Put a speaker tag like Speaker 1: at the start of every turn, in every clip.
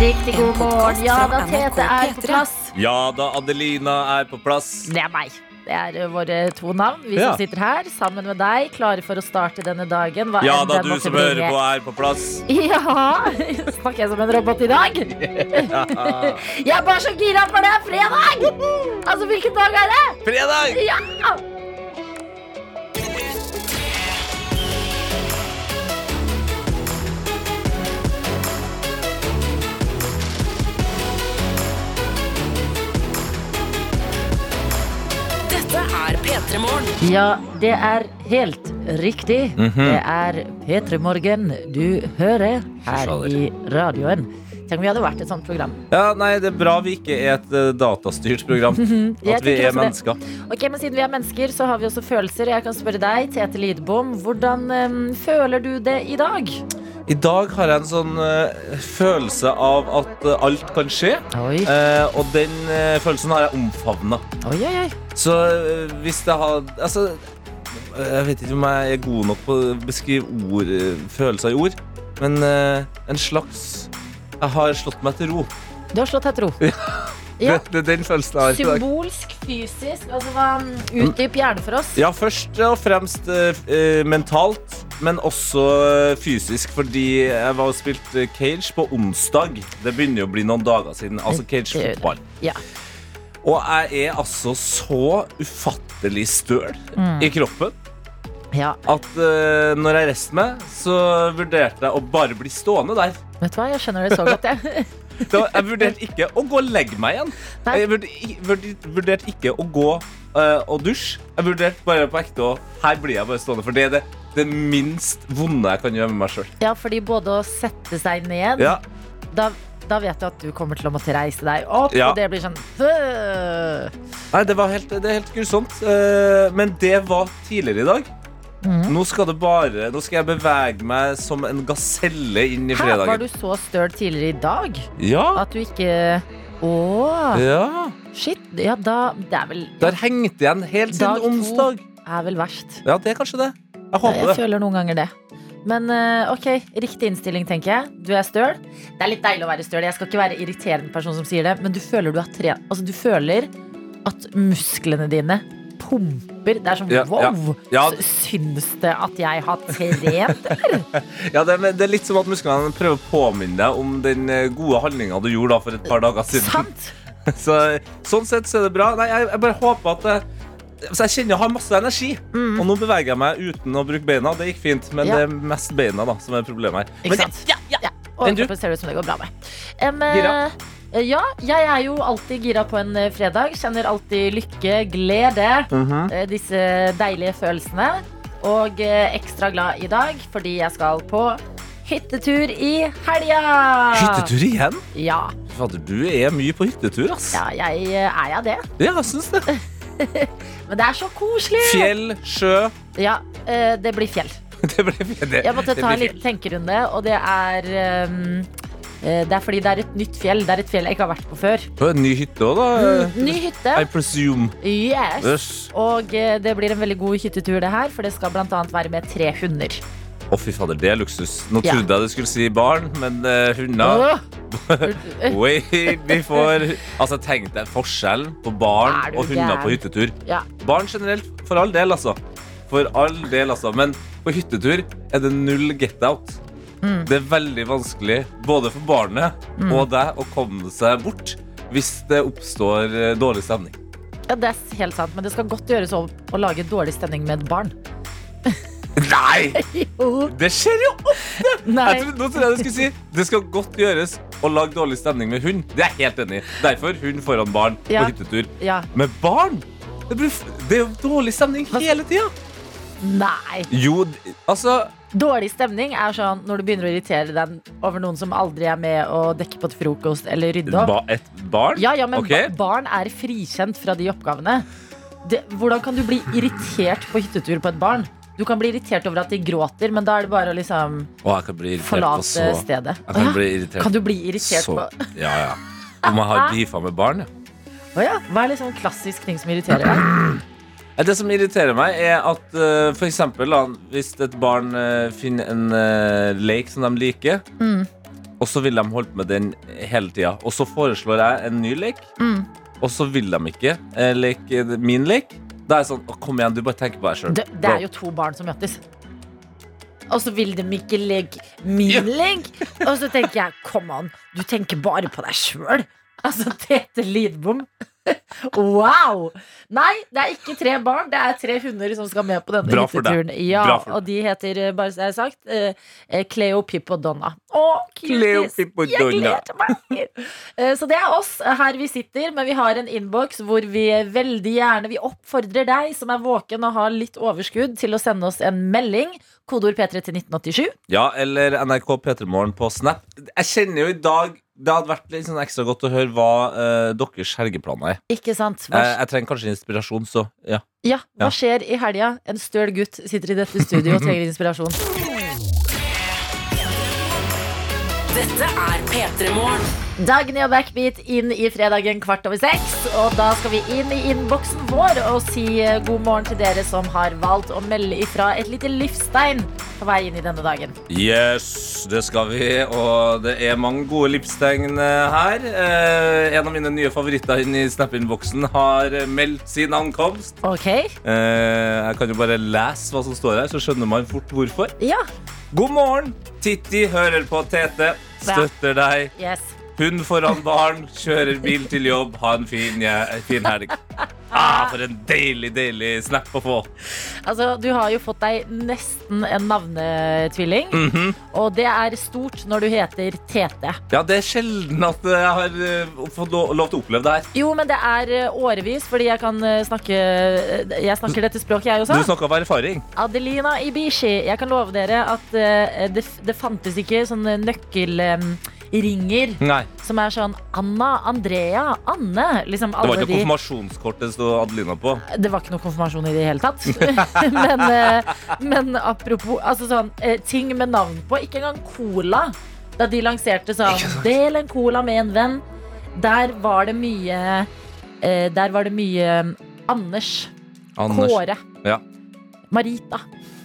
Speaker 1: Riktig god morgen. Ja da,
Speaker 2: NRK
Speaker 1: Tete er på
Speaker 2: P3.
Speaker 1: plass.
Speaker 3: Ja da, Adelina er på plass.
Speaker 1: Det er meg. Det er eh, våre to navn. Vi
Speaker 3: Ja.
Speaker 1: som sitter her sammen med deg, klare for å starte denne dagen. Hva
Speaker 3: Ja
Speaker 1: enn
Speaker 3: da,
Speaker 1: den
Speaker 3: du
Speaker 1: måtte
Speaker 3: som hører
Speaker 1: bringe.
Speaker 3: på, er på plass.
Speaker 1: Ja! Snakker jeg som en robot i dag? Jeg er bare så gira for det er fredag! Altså, hvilken dag er det?
Speaker 3: Fredag!
Speaker 1: Ja!
Speaker 2: Dette er P3 Morgen.
Speaker 1: Ja, det er helt riktig.
Speaker 3: Mhm.
Speaker 1: Det er P3 Morgen du hører her
Speaker 3: Fy
Speaker 1: i radioen. Tenk om vi hadde vært et sånt program.
Speaker 3: Ja, nei, det er bra vi ikke er et eh, datastyrt program.
Speaker 1: Jeg
Speaker 3: At
Speaker 1: tenker
Speaker 3: vi
Speaker 1: også
Speaker 3: er
Speaker 1: det.
Speaker 3: mennesker.
Speaker 1: Ok, men Siden vi er mennesker, så har vi også følelser. Jeg kan spørre deg, Tete Lidbom, hvordan em, føler du det i dag?
Speaker 3: I dag har jeg en sånn eh, følelse av at eh, alt kan skje.
Speaker 1: Oi,
Speaker 3: eh, og den eh, følelsen har jeg omfavna.
Speaker 1: oi, oi. oi.
Speaker 3: Så eh, hvis det hadde Altså, jeg vet ikke om jeg er god nok på å beskrive ord, eh, følelser i ord, men eh, en slags Jeg har slått meg til ro.
Speaker 1: Du har slått deg til ro. Ja.
Speaker 3: Det, det er den følelsen jeg har i dag.
Speaker 1: Symbolsk, fysisk. Altså, hva- Utdyp gjerne for oss.
Speaker 3: Ja, først og fremst eh, f- eh, mentalt, men også eh, fysisk. Fordi jeg var og spilte eh, cage på onsdag. Det begynner jo å bli noen dager siden. Altså cage
Speaker 1: Det gjør det.
Speaker 3: fotball.
Speaker 1: Ja.
Speaker 3: Og jeg er altså så ufattelig støl
Speaker 1: Mm.
Speaker 3: i kroppen
Speaker 1: Ja,
Speaker 3: at eh, når jeg reiste meg, så vurderte jeg å bare bli stående der.
Speaker 1: vet du hva, jeg skjønner det så godt, jeg.
Speaker 3: Det var, jeg vurderte ikke å gå og legge meg igjen.
Speaker 1: Nei.
Speaker 3: Jeg vurder- i- vurder- vurderte ikke å gå eh, og dusje. Jeg vurderte bare på ekte å Her blir jeg bare stående, for det er det, det minst vonde jeg kan gjøre med meg sjøl.
Speaker 1: Ja, fordi både å sette seg ned
Speaker 3: Ja.
Speaker 1: da, da vet du at du kommer til å måtte reise deg opp,
Speaker 3: Ja.
Speaker 1: og det blir sånn øh.
Speaker 3: Nei, det, var helt, det er helt grusomt. Eh, men det var tidligere i dag.
Speaker 1: Mm.
Speaker 3: Nå skal det bare Nå skal jeg bevege meg som en gaselle inn i
Speaker 1: Hæ, var du
Speaker 3: fredagen.
Speaker 1: så støl tidligere i dag
Speaker 3: Ja.
Speaker 1: at du ikke Å,
Speaker 3: ja.
Speaker 1: shit. Ja, da Det er vel,
Speaker 3: Der hengte jeg den helt
Speaker 1: Dag
Speaker 3: siden
Speaker 1: to.
Speaker 3: onsdag.
Speaker 1: er vel verst.
Speaker 3: Ja, det er kanskje det. Jeg håper
Speaker 1: Jeg
Speaker 3: det.
Speaker 1: føler noen ganger det. Men eh, ok, riktig innstilling, tenker jeg. Du er støl. Det er litt deilig å være støl. Jeg skal ikke være irriterende person som sier det, men du føler du har tre Altså, du føler at musklene dine pumper. Det er som
Speaker 3: Ja, ja.
Speaker 1: wow!
Speaker 3: Ja.
Speaker 1: s- Syns det at jeg har trent?
Speaker 3: Ja, det, er- men det er litt som at musklene prøver å påminne deg om den eh, gode handlinga du gjorde da for et par dager siden.
Speaker 1: Sant?
Speaker 3: Så, sånn sett så er det bra. Nei, jeg, jeg bare håper at jeg, altså, jeg kjenner jeg har masse energi. Og nå beveger jeg meg uten å bruke beina. Det gikk fint, men
Speaker 1: Mm. Ja.
Speaker 3: det er mest beina da som er problemet her.
Speaker 1: Ikke
Speaker 3: Men
Speaker 1: sant? Ja, ja, ja.
Speaker 3: Men
Speaker 1: Og
Speaker 3: du-
Speaker 1: kroppen ser ut som det går bra med. Em,
Speaker 3: Gira?
Speaker 1: eh, Ja, jeg er jo alltid gira på en eh, fredag. Kjenner alltid lykke, glede,
Speaker 3: Mhm.
Speaker 1: eh, disse deilige følelsene. Og eh, ekstra glad i dag fordi jeg skal på hyttetur i helga!
Speaker 3: Hyttetur igjen?
Speaker 1: Ja,
Speaker 3: Fader, du er mye på hyttetur, ass. Ja,
Speaker 1: ja jeg eh, er jeg det.
Speaker 3: jeg syns det.
Speaker 1: Men det er så koselig!
Speaker 3: Fjell, sjø.
Speaker 1: Ja, eh, det blir fjell.
Speaker 3: Det ble fjell. det-
Speaker 1: Jeg måtte
Speaker 3: det
Speaker 1: ta en
Speaker 3: blir
Speaker 1: liten tenkerunde, og det er um, eh, Det er fordi det er et nytt fjell. Det er et fjell jeg ikke har vært på før. Mm,
Speaker 3: fjell. En ny hytte òg, da.
Speaker 1: Ny hytte.
Speaker 3: I presume.
Speaker 1: Yes.
Speaker 3: Mm, Yes.
Speaker 1: Og eh, det blir en veldig god hyttetur, det her, for det skal bl.a. være med tre hunder.
Speaker 3: Å, fy fader, det er luksus. Nå
Speaker 1: Ja.
Speaker 3: trodde jeg du skulle si barn, men eh, hunder
Speaker 1: Åh,
Speaker 3: Way before Altså, tenk deg forskjellen på
Speaker 1: Er
Speaker 3: barn
Speaker 1: du
Speaker 3: og hunder
Speaker 1: gæren?
Speaker 3: på hyttetur.
Speaker 1: Ja.
Speaker 3: Barn generelt, for all del, altså. For all del, altså. Men på hyttetur er det null get out.
Speaker 1: Mm.
Speaker 3: Det er veldig vanskelig, både for barnet og deg, å komme seg bort hvis det oppstår eh, dårlig stemning.
Speaker 1: Ja, det er helt sant, men det skal godt gjøres å, å lage dårlig stemning med et barn.
Speaker 3: Nei! Det skjer jo ofte! Jeg
Speaker 1: Nei.
Speaker 3: trodde, nå trodde jeg du skulle si det skal godt gjøres å lage dårlig stemning med hund. Det er jeg helt enig i. Derfor hund foran barn
Speaker 1: Ja.
Speaker 3: på hyttetur.
Speaker 1: Ja.
Speaker 3: Med barn? Det, blir, f- det er jo dårlig stemning
Speaker 1: Hva-
Speaker 3: hele tida.
Speaker 1: Nei.
Speaker 3: Jo, d- altså
Speaker 1: Dårlig stemning er sånn når du begynner å irritere deg over noen som aldri er med å dekke på til frokost eller rydde opp.
Speaker 3: ba, Et barn?
Speaker 1: Ja, ja, men
Speaker 3: Ok.
Speaker 1: ba- barn er frikjent fra de oppgavene. Det, hvordan kan du bli irritert på hyttetur på et barn? Du kan bli irritert over at de gråter, men da er det bare å liksom
Speaker 3: Å, jeg kan bli irritert på så
Speaker 1: forlate stedet.
Speaker 3: Jeg kan
Speaker 1: Åja,
Speaker 3: bli irritert,
Speaker 1: kan du bli irritert
Speaker 3: så,
Speaker 1: på
Speaker 3: Ja, ja. Om jeg har beefa med barn, ja.
Speaker 1: Åja, Hva er liksom klassisk ting som irriterer deg?
Speaker 3: Nei, Det som irriterer meg, er at eh, for
Speaker 1: Mm.
Speaker 3: eksempel da, hvis et barn eh, finner en eh, lek som de liker, Og så ville de holdt med den hele tida. Og så foreslår jeg en ny lek,
Speaker 1: Mm.
Speaker 3: og så vil de ikke eh, leke min lek. Da er jeg sånn «Å, Kom igjen, du bare tenker på deg sjøl.
Speaker 1: Det, det er jo to barn som møtes. Og så vil de ikke legge min
Speaker 3: Ja.
Speaker 1: legg. Og så tenker jeg, come on, du tenker bare på deg sjøl. Altså Tete Lidbom. Wow! Nei, det er ikke tre barn, det er tre hunder som skal med på denne
Speaker 3: Bra for deg.
Speaker 1: hytteturen. Ja,
Speaker 3: Bra for deg.
Speaker 1: og de heter, eh, bare så jeg har sagt, eh, eh, Cleo, Pip og Donna. Å,
Speaker 3: Cleo,
Speaker 1: cuties!
Speaker 3: Pippo,
Speaker 1: Jeg
Speaker 3: Donna.
Speaker 1: gleder meg! Eh, Så det er oss her vi sitter, men vi har en innboks hvor vi veldig gjerne Vi oppfordrer deg som er våken og har litt overskudd, til å sende oss en melding. Kodeord P3 til 1987.
Speaker 3: Ja, eller NRK P3morgen på Snap. Jeg kjenner jo i dag Det hadde vært litt sånn ekstra godt å høre hva eh, deres helgeplaner er.
Speaker 1: Ikke sant?
Speaker 3: Eh,
Speaker 1: Hva,
Speaker 3: jeg trenger kanskje inspirasjon, så ja.
Speaker 1: eh, ja,
Speaker 3: ja.
Speaker 1: hva skjer i helga? En støl gutt sitter i dette studio og trenger inspirasjon.
Speaker 2: Dette er P3 Morgen.
Speaker 1: Dagny og Backbeat inn i fredagen kvart over seks. Og da skal vi inn i innboksen vår og si eh, god morgen til dere som har valgt å melde ifra et lite livstegn på vei inn i denne dagen.
Speaker 3: Yes, det skal vi, og det er mange gode livstegn eh, her. Eh, en av mine nye favoritter inn i Snap-innboksen har eh, meldt sin ankomst.
Speaker 1: Ok?
Speaker 3: Eh, jeg kan jo bare lese hva som står her, så skjønner man fort hvorfor.
Speaker 1: Ja.
Speaker 3: God morgen! Titti hører på Tete. Støtter deg.
Speaker 1: Yes.
Speaker 3: Hund foran barn, kjører bil til jobb. Ha en fin, je- fin helg. Ah, for en deilig, deilig snap å få.
Speaker 1: Altså, Du har jo fått deg nesten en navnetvilling.
Speaker 3: Mhm.
Speaker 1: Og det er stort når du heter Tete.
Speaker 3: Ja, Det er sjelden at jeg har eh, fått lo- lov til å oppleve det her.
Speaker 1: Jo, men det er eh, årevis, fordi jeg kan eh, snakke eh, Jeg snakker dette språket, jeg
Speaker 3: Du
Speaker 1: også.
Speaker 3: snakka om erfaring.
Speaker 1: Adelina Ibishi. Jeg kan love dere at eh, det, det fantes ikke sånne nøkkelringer
Speaker 3: Nei,
Speaker 1: som er sånn Anna, Andrea, Anne. Liksom
Speaker 3: Det
Speaker 1: alle
Speaker 3: var ikke
Speaker 1: de
Speaker 3: konfirmasjonskortet det stod Adelina på.
Speaker 1: Det var ikke noe konfirmasjon i det hele tatt. men, eh, men apropos altså sånn, eh, ting med navn på. Ikke engang cola. Da de lanserte sånn Del en cola med en venn. Der var det mye eh, Der var det mye eh, Anders,
Speaker 3: Anders.
Speaker 1: Kåre,
Speaker 3: Ja.
Speaker 1: Marita.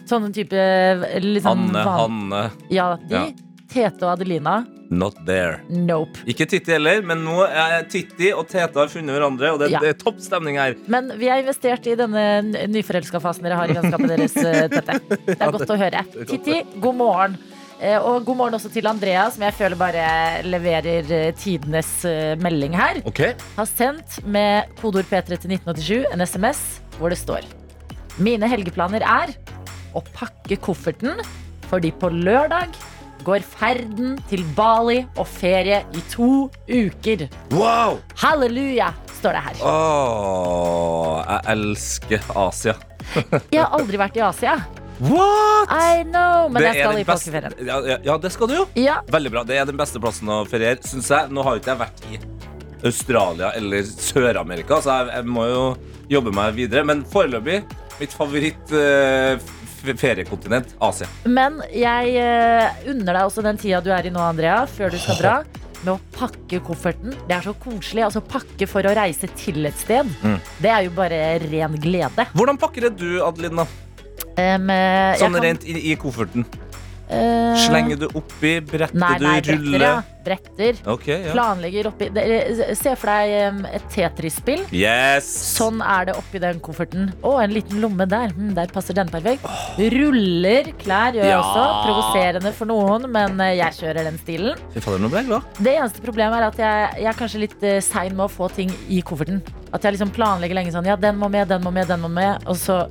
Speaker 1: Sånne type eh, liksom,
Speaker 3: Anne,
Speaker 1: van-
Speaker 3: Hanne.
Speaker 1: Ja, de.
Speaker 3: Ja.
Speaker 1: Tete og Adelina.
Speaker 3: Not there.
Speaker 1: Nope.
Speaker 3: Ikke Titti heller, men nå er Titti og Tete har funnet hverandre, og det,
Speaker 1: Ja.
Speaker 3: det er topp stemning her.
Speaker 1: Men vi har investert i denne n- nyforelska fasen dere har i vennskapet deres. eh, Tete. Det er godt å høre.
Speaker 3: godt.
Speaker 1: Titti, god morgen. Eh, Og god morgen også til Andrea, som jeg føler bare leverer eh, tidenes eh, melding her.
Speaker 3: Ok.
Speaker 1: Har sendt med kodeord P3 til 1987 en SMS hvor det står Mine helgeplaner er å pakke kofferten, fordi på lørdag går ferden til Bali og ferie i to uker.
Speaker 3: Wow!
Speaker 1: Halleluja, står det her.
Speaker 3: Åh, jeg elsker Asia.
Speaker 1: Jeg har aldri vært i Asia.
Speaker 3: What?!
Speaker 1: I know, men jeg
Speaker 3: er
Speaker 1: skal
Speaker 3: den
Speaker 1: i
Speaker 3: beste-
Speaker 1: påskeferien.
Speaker 3: Ja, ja, ja, det skal du jo.
Speaker 1: Ja,
Speaker 3: Veldig bra. Det er den beste plassen å feriere, syns jeg. Nå har jo ikke jeg vært i Australia eller Sør-Amerika, så jeg, jeg må jo jobbe meg videre. Men foreløpig mitt favoritt eh, f- feriekontinent Asia.
Speaker 1: men jeg eh, unner deg også den tida du er i nå, Andrea, før du skal dra. Med å pakke kofferten. Det er så koselig. Altså Pakke for å reise til et sted.
Speaker 3: Mm.
Speaker 1: Det er jo bare ren glede.
Speaker 3: Hvordan pakker det du, Adelina?
Speaker 1: Em, eh, jeg
Speaker 3: Sånn
Speaker 1: kan-
Speaker 3: rent i, i kofferten.
Speaker 1: eh,
Speaker 3: Slenger du oppi? Bretter
Speaker 1: nei, nei,
Speaker 3: du?
Speaker 1: bretter,
Speaker 3: Ruller?
Speaker 1: ja. Bretter.
Speaker 3: Ok, ja.
Speaker 1: Planlegger oppi Dere- Se for deg em, et Tetris-spill.
Speaker 3: Yes!
Speaker 1: Sånn er det oppi den kofferten. Å, en liten lomme der. Hm, der passer den perfekt. Ruller klær gjør jeg
Speaker 3: Ja.
Speaker 1: også. Provoserende for noen, men eh, jeg kjører den stilen.
Speaker 3: Fy fader, nå ble jeg glad.
Speaker 1: Det eneste problemet er at jeg, jeg er kanskje litt eh, sein med å få ting i kofferten. At jeg liksom planlegger lenge sånn Ja, den må med, den må med, den må med. Og så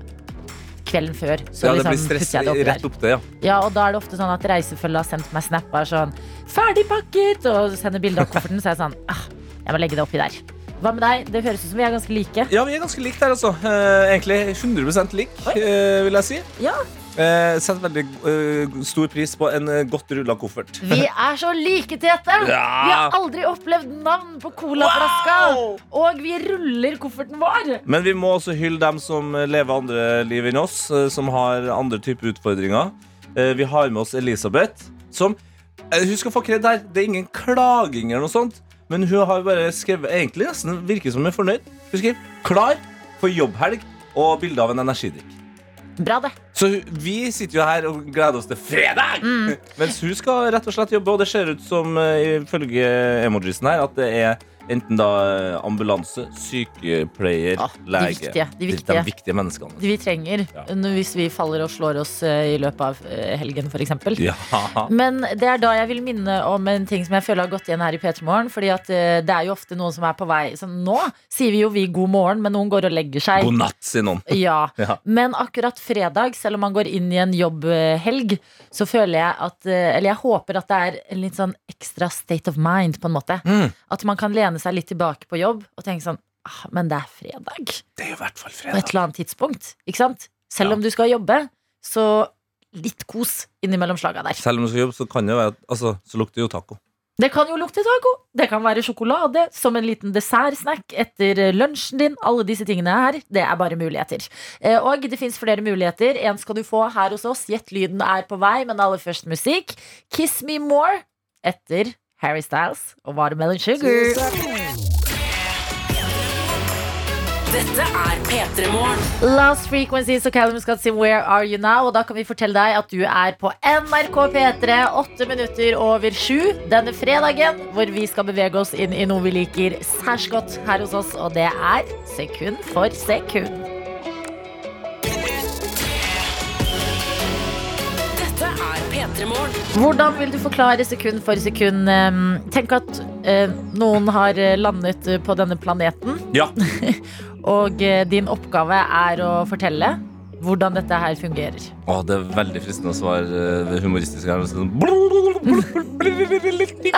Speaker 1: kvelden før. Så
Speaker 3: ja, det
Speaker 1: liksom
Speaker 3: blir stress
Speaker 1: putter jeg det oppi der.
Speaker 3: rett opp det, ja.
Speaker 1: Ja, og da er det ofte sånn at reisefølget har sendt meg snapper sånn Ferdig pakket! Og sender bilde av kofferten, så er jeg sånn ah, Jeg må legge det oppi der. Hva med deg? Det høres ut som vi er ganske like.
Speaker 3: Ja, vi er ganske like der, altså. Eh, egentlig 100 lik, eh, vil jeg si.
Speaker 1: Ja,
Speaker 3: Eh, setter veldig eh, stor pris på en eh, godt rulla koffert.
Speaker 1: Vi er så like, Tete!
Speaker 3: Ja.
Speaker 1: Vi har aldri opplevd navn på colaflaska.
Speaker 3: Wow!
Speaker 1: Og vi ruller kofferten vår.
Speaker 3: Men vi må også hylle dem som lever andre liv enn oss, eh, som har andre typer utfordringer. Eh, Vi har med oss Elisabeth, som eh, Hun skal få kred der. Det er ingen klaging eller noe sånt. Men hun har bare skrevet Egentlig nesten virker som hun er fornøyd. Hun skriver 'klar for jobbhelg' og bilde av en energidrikk.
Speaker 1: Bra, det.
Speaker 3: Så hu- vi sitter jo her og gleder oss til fredag! Mens hun skal rett og slett jobbe, og det ser ut som eh, ifølge emojisen her at det er enten da eh, ambulanse, sykepleier,
Speaker 1: Ja, de
Speaker 3: lege.
Speaker 1: viktige, de viktige.
Speaker 3: de viktige menneskene.
Speaker 1: Vi trenger
Speaker 3: Ja.
Speaker 1: når- hvis vi faller og slår oss eh, i løpet av eh, helgen, f.eks.
Speaker 3: Ja.
Speaker 1: Men det er da jeg vil minne om en ting som jeg føler har gått igjen her i P3 Morgen. Fordi at eh, det er jo ofte noen som er på vei Så nå sier vi jo vi god morgen, men noen går og legger seg.
Speaker 3: God natt, sier noen.
Speaker 1: Ja.
Speaker 3: Ja.
Speaker 1: Men akkurat fredag, selv om man går inn i en jobbhelg, så føler jeg at eh, Eller jeg håper at det er en litt sånn ekstra state of mind, på en måte.
Speaker 3: Mm.
Speaker 1: At man kan lene seg litt tilbake på jobb og tenke sånn ah, Men det er fredag.
Speaker 3: Det er i hvert fall
Speaker 1: På et
Speaker 3: fredag.
Speaker 1: eller annet tidspunkt. Ikke sant? Selv
Speaker 3: Ja.
Speaker 1: om du skal jobbe, så litt kos innimellom slaga der.
Speaker 3: Selv om du skal jobbe, så kan det jo være at altså, så lukter det jo taco.
Speaker 1: Det kan jo lukte taco. Det kan være sjokolade som en liten dessertsnack etter eh, lunsjen din. Alle disse tingene her, det er bare muligheter. Eh, Og det fins flere muligheter. En skal du få her hos oss. Gjett lyden er på vei, men aller først musikk. Kiss Me More etter Harry Styles og Watermelon Sugar.
Speaker 2: Dette er P3 Morgen.
Speaker 1: Last Frequencies og Callum Scott sin Where Are You Now? Og da kan vi fortelle deg at du er på NRK P3, åtte minutter over sju denne fredagen, hvor vi skal bevege oss inn i noe vi liker særs godt her hos oss, og det er sekund for sekund.
Speaker 2: Dette er P3 Morgen.
Speaker 1: Hvordan vil du forklare sekund for sekund? eh, Tenk at eh, noen har eh, landet eh, på denne planeten,
Speaker 3: Ja.
Speaker 1: og eh, din oppgave er å fortelle hvordan dette her fungerer.
Speaker 3: Å, det er veldig fristende å svare eh, humoristisk her. Sånn. Nei,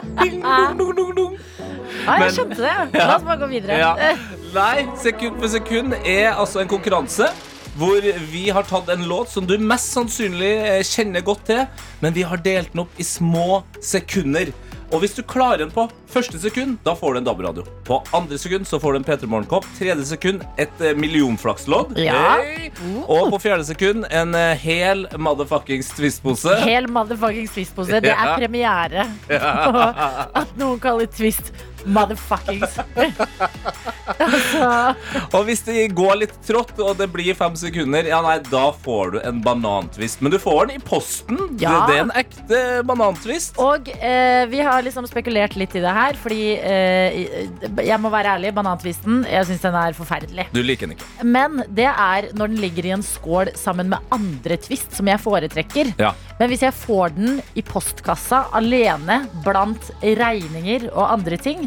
Speaker 1: Ja, jeg
Speaker 3: Men-
Speaker 1: skjønte det. La oss bare gå videre.
Speaker 3: Ja. Sekund for sekund er altså en konkurranse hvor vi har tatt en låt som du mest sannsynlig eh, kjenner godt til, men vi har delt den opp i små sekunder. Og hvis du klarer den på første sekund, da får du en DAB-radio. På andre sekund så får du en P3 Morgenkopp. Tredje sekund et eh, millionflakslodd.
Speaker 1: Ja.
Speaker 3: Hey. Og på fjerde sekund en eh, hel motherfuckings twistpose.
Speaker 1: Hel motherfuckings twistpose. Det er
Speaker 3: Ja.
Speaker 1: premiere. At noen kaller twist motherfuckings.
Speaker 3: Og hvis det går litt trått, og det blir fem sekunder, ja nei, da får du en banantvist. Men du får den i posten.
Speaker 1: Ja.
Speaker 3: Det, det er en ekte banantvist.
Speaker 1: Og eh, vi har liksom spekulert litt i det her, fordi eh, jeg må være ærlig, banantvisten, jeg syns den er forferdelig.
Speaker 3: Du liker den ikke.
Speaker 1: Men det er når den ligger i en skål sammen med andre twist, som jeg foretrekker.
Speaker 3: Ja.
Speaker 1: Men hvis jeg får den i postkassa alene blant regninger og andre ting,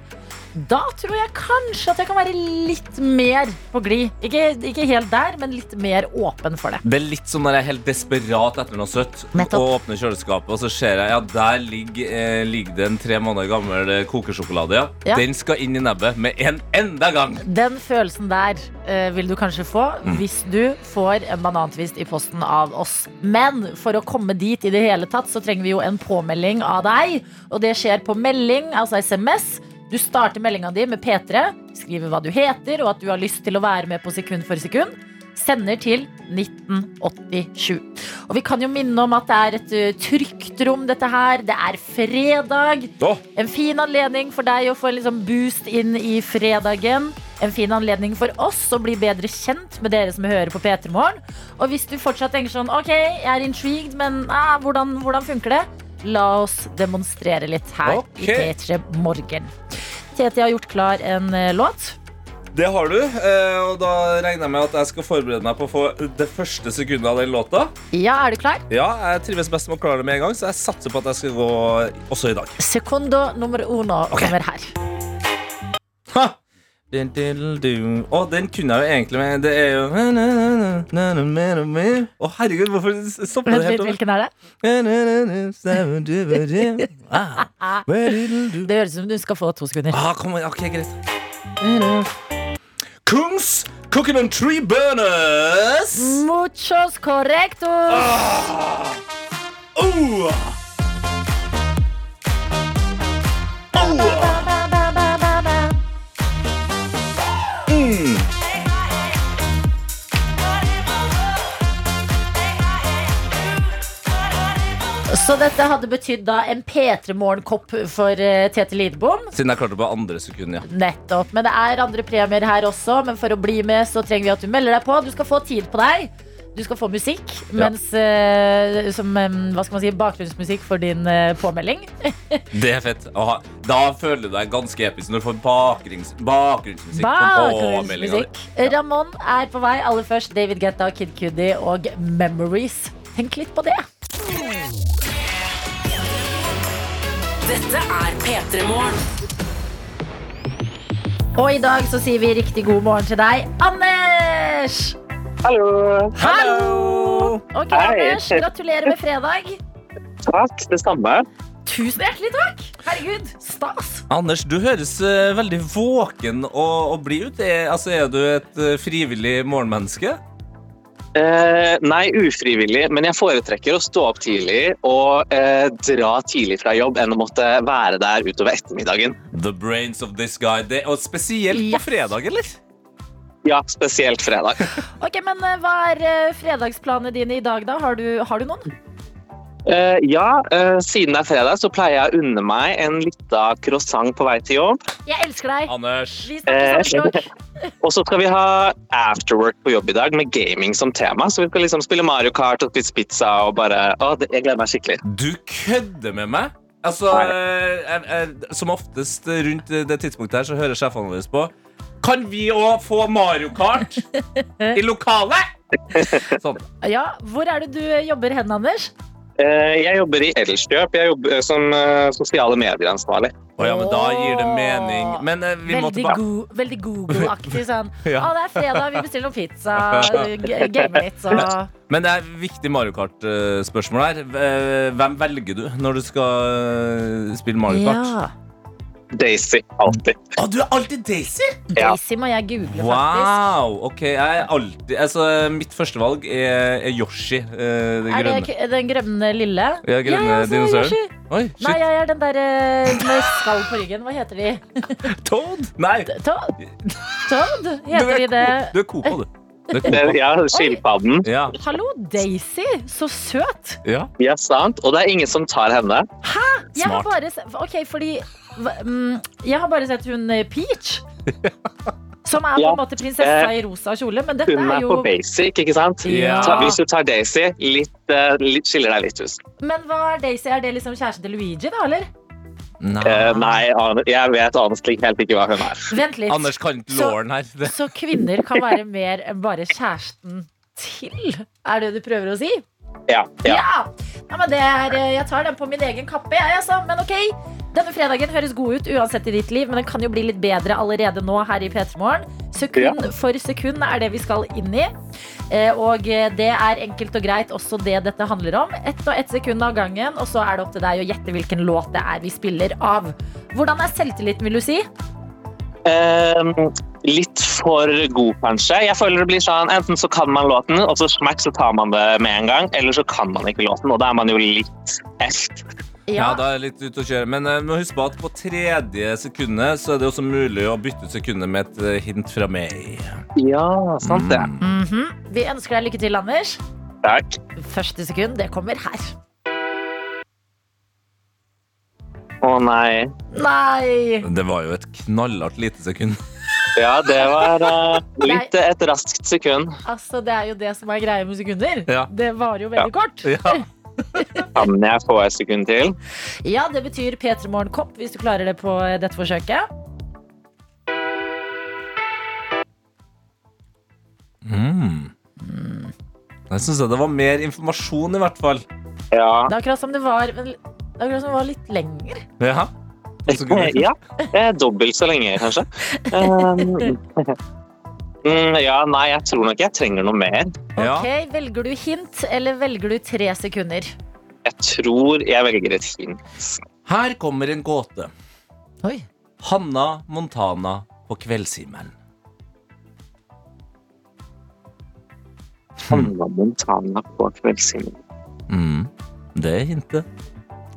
Speaker 1: da tror jeg kanskje at jeg kan være litt mer på glid. Ikke, ikke helt der, men litt mer åpen for det.
Speaker 3: Det er litt som når jeg er helt desperat etter noe søtt
Speaker 1: Nettopp.
Speaker 3: og åpner kjøleskapet, og så ser jeg ja, der ligger, eh, ligger det en tre måneder gammel eh, kokesjokolade. Ja.
Speaker 1: Ja.
Speaker 3: Den skal inn i nebbet med en enda gang.
Speaker 1: Den følelsen der eh, vil du kanskje få hvis du får en banantvist i posten av oss. Men for å komme dit i det hele tatt, så trenger vi jo en påmelding av deg. Og det skjer på melding, altså SMS. Du starter meldinga di med P3, skriver hva du heter og at du har lyst til å være med på sekund for sekund. Sender til 1987. Og vi kan jo minne om at det er et eh, trygt rom, dette her. Det er fredag.
Speaker 3: Da.
Speaker 1: En fin anledning for deg å få en liksom boost inn i fredagen. En fin anledning for oss å bli bedre kjent med dere som hører på P3 Morgen. Og hvis du fortsatt tenker sånn OK, jeg er intrigued, men ah, hvordan, hvordan funker det? La oss demonstrere litt her i
Speaker 3: Ok.
Speaker 1: P3 Morgen. Tete har gjort klar en eh, låt.
Speaker 3: Det har du, eh, og da regner jeg med at jeg skal forberede meg på å få det første sekundet av den låta.
Speaker 1: Ja, er du klar?
Speaker 3: Ja, jeg trives best med å klare det med en gang, så jeg satser på at jeg skal gå også i dag.
Speaker 1: Sekundo nummer uno
Speaker 3: Ok.
Speaker 1: kommer her.
Speaker 3: Ha! Din, diddle, du. Å, den kunne jeg jo egentlig med Det er jo na, na, na, na, na, na, na, na, na. Å, herregud, hvorfor stopper
Speaker 1: Vent
Speaker 3: det
Speaker 1: litt,
Speaker 3: helt
Speaker 1: hvilken er det?
Speaker 3: over? Ah. Where diddle, do.
Speaker 1: Det høres ut som du skal få to sekunder.
Speaker 3: Ah, kom igjen. Ok, greit. Kungs Cooking on Tree Burners.
Speaker 1: Muchos correctos!
Speaker 3: Oh! Mm.
Speaker 1: Så dette hadde betydd da en P3-morgenkopp for eh, Tete Lidbom.
Speaker 3: Siden jeg klarte det på andre sekund, ja.
Speaker 1: Nettopp. Men det er andre premier her også, men for å bli med så trenger vi at du melder deg på. Du skal få tid på deg. Du skal få musikk, mens, eh, som eh, hva skal man si, bakgrunnsmusikk for din eh, påmelding.
Speaker 3: Det er fett. å ha. da føler du deg ganske episk når du får bakgrunns, bakgrunnsmusikk. på påmeldinga di.
Speaker 1: Bakgrunnsmusikk. Ramón er på vei. Aller først David Guetta, Kid Cudi og Memories. Tenk litt på det.
Speaker 2: Dette er P3 Morgen.
Speaker 1: Og i dag så sier vi riktig god morgen til deg, Anders!
Speaker 4: Hallo.
Speaker 3: Hallo!
Speaker 1: Ok,
Speaker 4: Hei.
Speaker 1: Anders, Gratulerer med fredag.
Speaker 4: Takk, det samme.
Speaker 1: Tusen hjertelig takk! Herregud, stas.
Speaker 3: Anders, du høres eh, veldig våken og, og blid ut. Er, altså, er du et eh, frivillig morgenmenneske?
Speaker 4: Eh, nei, ufrivillig, men jeg foretrekker å stå opp tidlig og eh, dra tidlig fra jobb enn å måtte være der utover ettermiddagen.
Speaker 3: The brains of this guy. Det, og spesielt
Speaker 1: Ja.
Speaker 3: på fredag, eller?
Speaker 4: Ja, spesielt fredag.
Speaker 1: Ok, men eh, Hva er eh, fredagsplanene dine i dag, da? Har du, har du noen?
Speaker 4: Eh, ja, eh, siden det er fredag så pleier jeg å unne meg en lita croissant på vei til jobb. Eh,
Speaker 1: Jeg elsker deg.
Speaker 3: Anders.
Speaker 1: Vi snakkes om et
Speaker 4: Og så skal vi ha afterwork på jobb i dag med gaming som tema. Så vi skal liksom spille Mario Kart og spise pizza og bare Å, det, jeg gleder meg skikkelig.
Speaker 3: Du kødder med meg? Altså,
Speaker 4: Nei.
Speaker 3: eh, eh, Som oftest rundt det tidspunktet her, så hører sjefene våre på. Kan vi òg få Mario Kart i lokalet? Sånn.
Speaker 1: Ja, Hvor er det du jobber hen, Anders?
Speaker 4: Eh, jeg jobber i Elskjøp. Jeg jobber eh, som eh, sosiale medieransvarlig.
Speaker 3: Å ja, men da gir det mening. Men eh, vi må
Speaker 1: Veldig,
Speaker 3: tilbake.
Speaker 1: go veldig Google-aktig sånn.
Speaker 3: Ja.
Speaker 1: Å, det er fredag, vi bestiller noe pizza, g- gamer litt, så
Speaker 3: Men det er viktig Mario Kart-spørsmål her. Eh, Hvem velger du når du skal eh, spille Mario Kart?
Speaker 1: Ja.
Speaker 4: Daisy, alltid.
Speaker 3: Å, du er alltid Daisy!
Speaker 4: Ja.
Speaker 1: Daisy må jeg google, faktisk.
Speaker 3: Wow! ok, jeg er alltid altså, Mitt førstevalg er, er Yoshi. eh,
Speaker 1: Er
Speaker 3: det
Speaker 1: det
Speaker 3: grønne.
Speaker 1: k- den grønne lille?
Speaker 3: Ja,
Speaker 1: jeg
Speaker 3: grønne
Speaker 1: også er
Speaker 3: dinosauren.
Speaker 1: Yoshi.
Speaker 3: Oi, shit.
Speaker 1: Nei, jeg er den der eh, med skall på ryggen. Hva heter de?
Speaker 3: Toad? Nei!
Speaker 1: Toad? Toad? Heter de det?
Speaker 3: Du er Copa, du. Du er
Speaker 4: Det,
Speaker 3: Copa.
Speaker 4: ja, skilpadden.
Speaker 3: Ja.
Speaker 1: Hallo, Daisy. Så søt.
Speaker 3: ja.
Speaker 4: Ja, sant. Og det er ingen som tar henne.
Speaker 1: Jeg har
Speaker 3: Smart.
Speaker 1: bare sett OK, fordi hva- mm, Jeg har bare sett hun eh, Peach. Som er på
Speaker 4: Ja. Eh,
Speaker 1: en måte prinsessa i rosa kjole, men dette
Speaker 4: Hun
Speaker 1: er
Speaker 4: er
Speaker 1: jo
Speaker 4: på basic, ikke sant?
Speaker 3: Ja.
Speaker 4: Så hvis du tar Daisy, litt, eh, litt, skiller deg litt ut.
Speaker 1: Men hva er Daisy? Er det liksom kjæresten til Luigi, da, eller?
Speaker 4: Eh, nei, an- jeg vet honestly helt ikke hva hun er.
Speaker 1: Vent litt.
Speaker 3: Anders kan ikke låren her. Det-
Speaker 1: Eh, Så kvinner kan være mer enn bare kjæresten til? Er det det du prøver å si?
Speaker 4: Ja, ja.
Speaker 1: Nei, men det er, eh, jeg tar den på min egen kappe, jeg, altså. Men OK. Denne fredagen høres god ut uansett i ditt liv, men den kan jo bli litt bedre allerede nå her i P3 Morgen. Sekund for sekund er det vi skal inn i. Eh, Og eh, det er enkelt og greit også det dette handler om. Ett og ett sekund av gangen, og så er det opp til deg å gjette hvilken låt det er vi spiller av. Hvordan er selvtilliten, vil du si?
Speaker 4: Eh, litt for god, kanskje. Jeg føler det blir sånn, Enten så kan man låten, og så smack, så tar man det med en gang. Eller så kan man ikke låten, og da er man jo litt eft.
Speaker 3: Ja, da er jeg litt ute å kjøre. Men eh, må huske på at på tredje sekundet så er det også mulig å bytte ut sekundet med et eh, hint fra meg.
Speaker 4: Ja, sant det.
Speaker 1: Mhm. Vi ønsker deg lykke til, Anders.
Speaker 4: Takk.
Speaker 1: Første sekund, det kommer her.
Speaker 4: Å nei.
Speaker 1: Nei!
Speaker 3: Det var jo et knallhardt lite sekund.
Speaker 4: Ja, det var eh, litt eh, et raskt sekund.
Speaker 1: Altså, Det er jo det som er greia med sekunder.
Speaker 3: Ja.
Speaker 1: Det varer jo veldig kort.
Speaker 3: Ja.
Speaker 4: Kan jeg få et sekund til?
Speaker 1: Ja, Det betyr P3 Morgen Kopp hvis du klarer det på eh, dette forsøket.
Speaker 3: Mm. Jeg syns det var mer informasjon, i hvert fall.
Speaker 4: Ja.
Speaker 1: Det er akkurat som det var, vel, det er akkurat som det var litt lenger.
Speaker 3: Ja. Et sekund.
Speaker 4: ja. eh, Dobbelt så lenge, kanskje. Um, mm, ja, nei, jeg tror nok jeg trenger noe mer.
Speaker 3: Ja.
Speaker 1: Ok, Velger du hint, eller velger du tre sekunder?
Speaker 4: Jeg tror jeg velger et hint.
Speaker 3: Her kommer en gåte.
Speaker 1: Oi.
Speaker 3: Hanna Montana på Kveldshimmelen.
Speaker 4: Hanna Montana på kveldshimmelen.
Speaker 3: Mm. Det er hintet.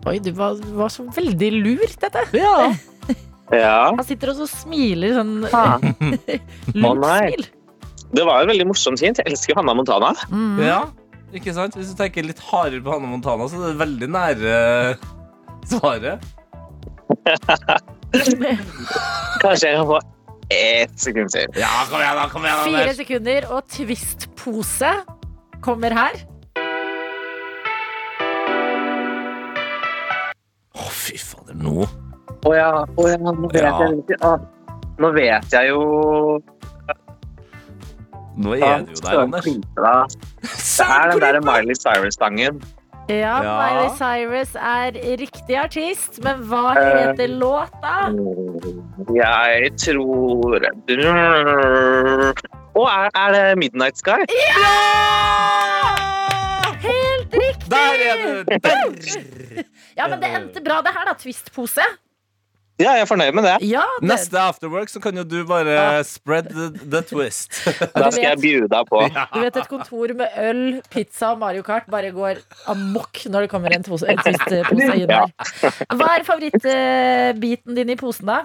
Speaker 1: Oi, du var, var så veldig lur, dette.
Speaker 3: Ja.
Speaker 4: Ja.
Speaker 1: Han sitter og så smiler sånn
Speaker 4: Faen.
Speaker 1: lurt
Speaker 4: nei.
Speaker 1: smil.
Speaker 4: Det var jo veldig morsomt hint. Jeg elsker jo Hanna Montana.
Speaker 1: Mm.
Speaker 3: Ja, ikke sant? Hvis du tenker litt hardere på Hanne Montana, så er det veldig nære svaret.
Speaker 4: Kanskje jeg kan få ett sekund til.
Speaker 3: Ja, kom igjen, da! kom igjen,
Speaker 1: Fire
Speaker 3: Anders.
Speaker 1: sekunder og twist-pose. kommer her.
Speaker 3: Å, fy fader, nå
Speaker 4: Å ja, å ja, nå vet
Speaker 3: Ja.
Speaker 4: jeg ikke. Å, Nå vet jeg jo
Speaker 3: Nå er du jo der,
Speaker 4: Søren
Speaker 3: Anders.
Speaker 4: klype deg. Det er den der Miley Cyrus-sangen.
Speaker 1: Ja,
Speaker 3: Ja.
Speaker 1: Miley Cyrus er riktig artist, men hva heter låta?
Speaker 4: Mm. Jeg tror Å, er, er det Midnight Sky?
Speaker 1: Helt riktig!
Speaker 3: Der er du! Der!
Speaker 1: Ja, men det endte bra, det her, da. Twist-pose.
Speaker 4: Ja, jeg er fornøyd med det.
Speaker 1: Ja, det,
Speaker 3: Neste afterwork så kan jo du bare spread the, the twist.
Speaker 4: Da skal jeg bjude deg på.
Speaker 1: Du vet et kontor med øl, pizza og Mario Kart bare går amok når det kommer en, tos- en twist-pose inn der. Hva er favorittbiten din i posen, da?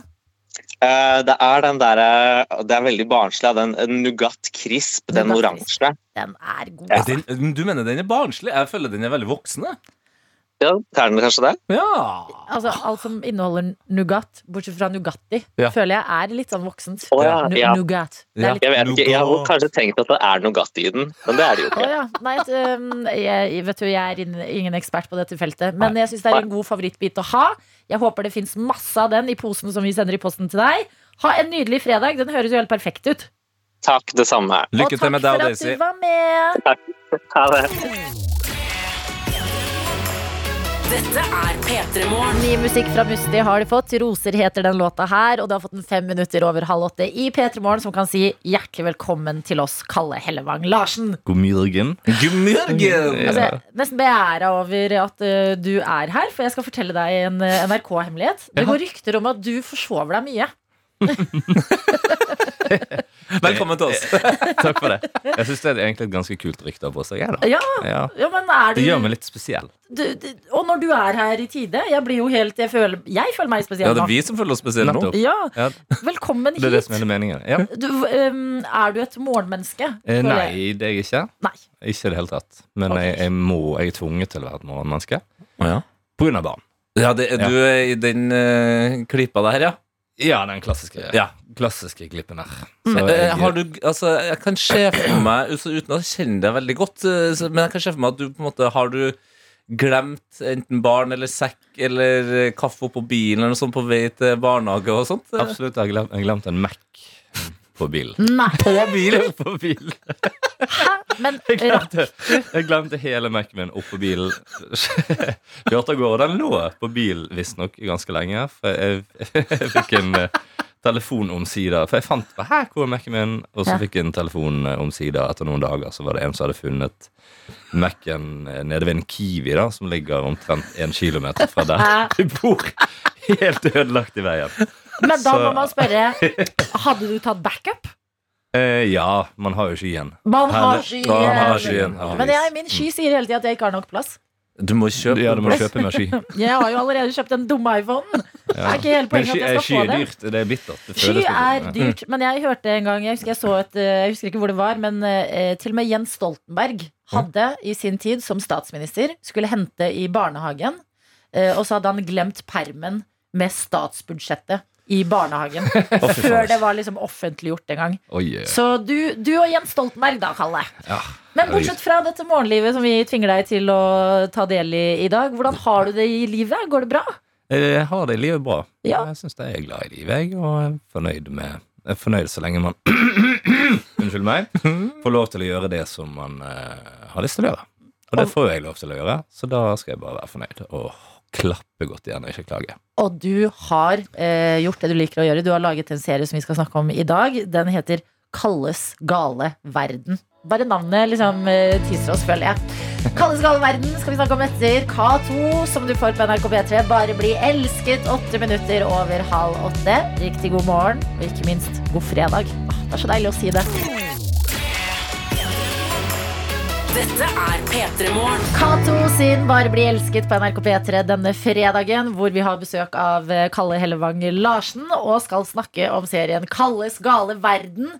Speaker 4: Eh, det er den derre Det er veldig barnslig, ja, den Nougat Crisp, den
Speaker 1: Nougat Crisp.
Speaker 4: oransje.
Speaker 1: Den er god.
Speaker 3: Er
Speaker 1: altså.
Speaker 3: den, du mener den er barnslig? Jeg føler den er veldig voksende.
Speaker 4: Ja, er den kanskje det?
Speaker 3: Ja.
Speaker 1: Altså, alt som inneholder nougat, bortsett fra Nugatti,
Speaker 3: Ja.
Speaker 1: føler jeg er litt sånn voksent.
Speaker 4: Å ja,
Speaker 1: Nu-
Speaker 4: ja.
Speaker 1: Nougat. Det er
Speaker 3: Ja.
Speaker 1: litt
Speaker 4: Jeg vet ikke, jeg hadde kanskje tenkt at det er Nougat i den, men det er det jo
Speaker 1: Å
Speaker 4: ikke.
Speaker 1: ja. Nei, et, øhm, jeg, vet du, jeg er inn- ingen ekspert på dette feltet, men jeg syns det er en god favorittbit å ha. Jeg håper det fins masse av den i posen som vi sender i posten til deg. Ha en nydelig fredag. Den høres jo helt perfekt ut.
Speaker 4: Takk, det samme.
Speaker 3: Lykke til
Speaker 1: og
Speaker 3: med
Speaker 1: takk
Speaker 3: deg og
Speaker 1: for at
Speaker 3: Daisy.
Speaker 1: du var med.
Speaker 4: Ha det.
Speaker 2: Dette er P3 Morgen.
Speaker 1: Ny musikk fra Musti har de fått. 'Roser' heter den låta her. Og du har fått den fem minutter over halv åtte i P3 Morgen, som kan si hjertelig velkommen til oss, Kalle Hellevang Larsen.
Speaker 5: God morgen.
Speaker 3: God morgen!
Speaker 1: Altså, jeg er nesten beæra over at ø, du er her, for jeg skal fortelle deg en ø, NRK-hemmelighet. Det går rykter om at du forsover deg mye.
Speaker 3: Velkommen til oss.
Speaker 5: Takk for det. Jeg syns det er egentlig et ganske kult rykte å ha på seg. jeg, da.
Speaker 1: Ja,
Speaker 5: Ja.
Speaker 1: ja men er du,
Speaker 5: Det gjør meg litt spesiell.
Speaker 1: du, du Og når du er her i tide Jeg blir jo helt Jeg føler, jeg føler meg
Speaker 3: Ja,
Speaker 1: spesiell
Speaker 3: det er
Speaker 1: nå.
Speaker 3: vi som føler oss spesielle nå.
Speaker 5: Nettopp.
Speaker 1: Ja,
Speaker 5: Ja,
Speaker 1: velkommen
Speaker 5: det er det
Speaker 1: hit.
Speaker 5: som er meningen. Ja.
Speaker 1: Du, ø, er du et morgenmenneske?
Speaker 5: Eh,
Speaker 1: Føler jeg.
Speaker 5: Nei, det er jeg ikke.
Speaker 1: Nei.
Speaker 5: Ikke i det hele tatt. Men
Speaker 1: Ok.
Speaker 5: jeg, jeg må, jeg er tvunget til å være et morgenmenneske.
Speaker 3: Ja,
Speaker 5: På grunn av barn.
Speaker 3: det, du er i den eh, klippa der, ja.
Speaker 5: Ja, den klassiske,
Speaker 3: Ja.
Speaker 5: klassiske glippen her.
Speaker 1: Mm.
Speaker 5: Så
Speaker 3: Eh,
Speaker 5: jeg-
Speaker 3: har du, altså, jeg kan se for meg, altså, uten å kjenne deg veldig godt, eh, så- men jeg kan se for meg at du på en måte har du glemt enten barn eller sekk eller eh, kaffe oppå bilen eller noe sånt på vei til barnehage og sånt? eh?
Speaker 5: Absolutt. Jeg har glemt, jeg har glemt en Mac på bilen.
Speaker 1: Nei.
Speaker 5: På bilen? På bilen.
Speaker 1: Men
Speaker 5: Jeg
Speaker 1: rakk
Speaker 5: glemte, jeg glemte hele Mac-en min oppå bilen. Kjørte av gårde. Den lå på bil visstnok ganske lenge. For jeg, jeg fikk en eh, telefon omsider. For jeg fant her hvor er Mac-en min, og så
Speaker 1: Ja.
Speaker 5: fikk jeg en telefon eh, omsider. Etter noen dager så var det en som hadde funnet Mac-en eh, nede ved en Kiwi, da som ligger omtrent en kilometer fra der vi bor. Helt ødelagt i veien.
Speaker 1: Men da må
Speaker 5: Så-
Speaker 1: man spørre Hadde du tatt backup?
Speaker 5: Eh, ja, man har jo ikke igjen.
Speaker 1: Man har
Speaker 5: Herlig.
Speaker 1: skyen.
Speaker 3: Man har
Speaker 5: skyen, heldigvis. Mm.
Speaker 1: Men jeg, min sky sier hele tida at jeg ikke har nok plass.
Speaker 3: Du må kjøpe
Speaker 5: Ja, du må kjøpe mer ski.
Speaker 1: Jeg har jo allerede kjøpt den dumme iPhonen. Det er ikke hele
Speaker 5: Men
Speaker 1: poenget
Speaker 5: sky, eh,
Speaker 1: at jeg
Speaker 5: sky
Speaker 1: skal
Speaker 5: er
Speaker 1: få det.
Speaker 5: dyrt. Det er bittert. Det
Speaker 1: Sky
Speaker 5: føles litt-
Speaker 1: er
Speaker 5: Ja.
Speaker 1: dyrt, men jeg hørte en gang Jeg husker jeg så et, eh, jeg husker ikke hvor det var, men eh, til og med Jens Stoltenberg hadde i sin tid som statsminister skulle hente i barnehagen, eh, og så hadde han glemt permen med statsbudsjettet i barnehagen. Før det var liksom offentliggjort en gang.
Speaker 5: Oi, Ah, eh.
Speaker 1: Så du, du og Jens Stoltenberg da, Kalle.
Speaker 5: Ja,
Speaker 1: Men bortsett fra dette morgenlivet som vi tvinger deg til å ta del i i dag, hvordan har du det i livet? Går det bra?
Speaker 5: Jeg Eh, har det i livet bra.
Speaker 1: Ja.
Speaker 5: Jeg syns jeg er glad i livet, jeg, og er fornøyd med jeg er fornøyd så lenge man Unnskyld meg. Får lov til å gjøre det som man eh, har lyst til å gjøre. Og det får jeg lov til å gjøre, så da skal jeg bare være fornøyd. Og klappe godt igjen og ikke klage.
Speaker 1: Og du har eh, gjort det du liker å gjøre. Du har laget en serie som vi skal snakke om i dag. Den heter Kalles gale verden. Bare navnet liksom eh, teaser oss, føler jeg. Kalles gale verden skal vi snakke om etter K2, som du får på NRK P3. Bare bli elsket. Åtte minutter over halv åtte. Riktig god morgen, og ikke minst god fredag. Åh, Det er så deilig å si det.
Speaker 2: Dette er P3 Morgen.
Speaker 1: Cato sin Bare bli elsket på NRK P3 denne fredagen, hvor vi har besøk av eh, Kalle Hellevang Larsen og skal snakke om serien Kalles gale verden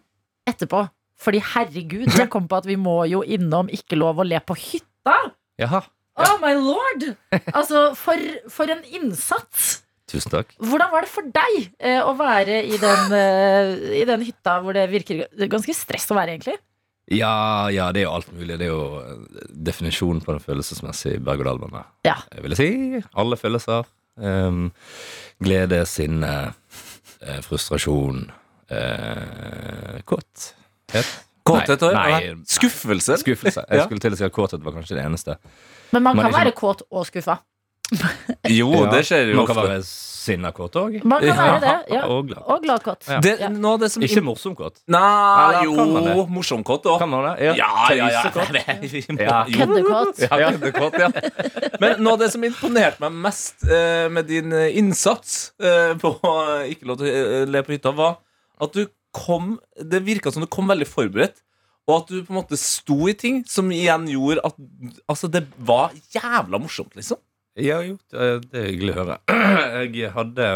Speaker 1: etterpå. Fordi herregud, jeg kom på at vi må jo innom Ikke lov å le på hytta.
Speaker 5: Jaha.
Speaker 1: Oh my lord! Altså, for, for en innsats!
Speaker 5: Tusen takk.
Speaker 1: Hvordan var det for deg eh, å være i den, eh, i den hytta hvor det virker ganske stress å være, egentlig?
Speaker 5: Ja, ja, det er jo alt mulig. Det er jo eh, definisjonen på den følelsesmessige berg-og-dal-bane.
Speaker 1: Ja.
Speaker 5: Jeg vil si alle følelser. Ehm, glede, sinne, eh, frustrasjon, uh, kåt.
Speaker 3: Kåthet og
Speaker 5: Nei,
Speaker 3: nei,
Speaker 5: nei.
Speaker 3: skuffelse.
Speaker 5: Skuffelse. Jeg
Speaker 3: Ja.
Speaker 5: skulle til å si at kåthet var kanskje det eneste.
Speaker 1: Men man kan
Speaker 5: Man er liksom ikke-
Speaker 1: være kåt og skuffa.
Speaker 3: Jo, det skjer jo
Speaker 5: Man kan
Speaker 3: ofte.
Speaker 5: være sinna kåt òg.
Speaker 1: Man kan
Speaker 3: Ja.
Speaker 1: være det. Ja.
Speaker 5: Og glad.
Speaker 1: Og gladkåt.
Speaker 5: Ja.
Speaker 3: Det,
Speaker 1: Ja.
Speaker 3: noe av det som
Speaker 5: Ikke morsom kåt.
Speaker 3: Nei,
Speaker 5: Eller kan man
Speaker 3: jo,
Speaker 5: det?
Speaker 3: morsom kåt òg.
Speaker 5: Kan man det?
Speaker 3: Ja, ja, ja.
Speaker 5: Tøysekåt.
Speaker 3: Ja. Jo.
Speaker 1: Køddekåt.
Speaker 3: Ja, køddekåt, ja. Men noe av det som imponerte meg mest eh, med din eh, innsats eh, på eh, Ikke lov til å eh, le på hytta, var at du kom Det virka som du kom veldig forberedt, og at du på en måte sto i ting som igjen gjorde at Altså, det var jævla morsomt, liksom.
Speaker 5: Ja, jo, eh, det det er hyggelig å høre. Jeg hadde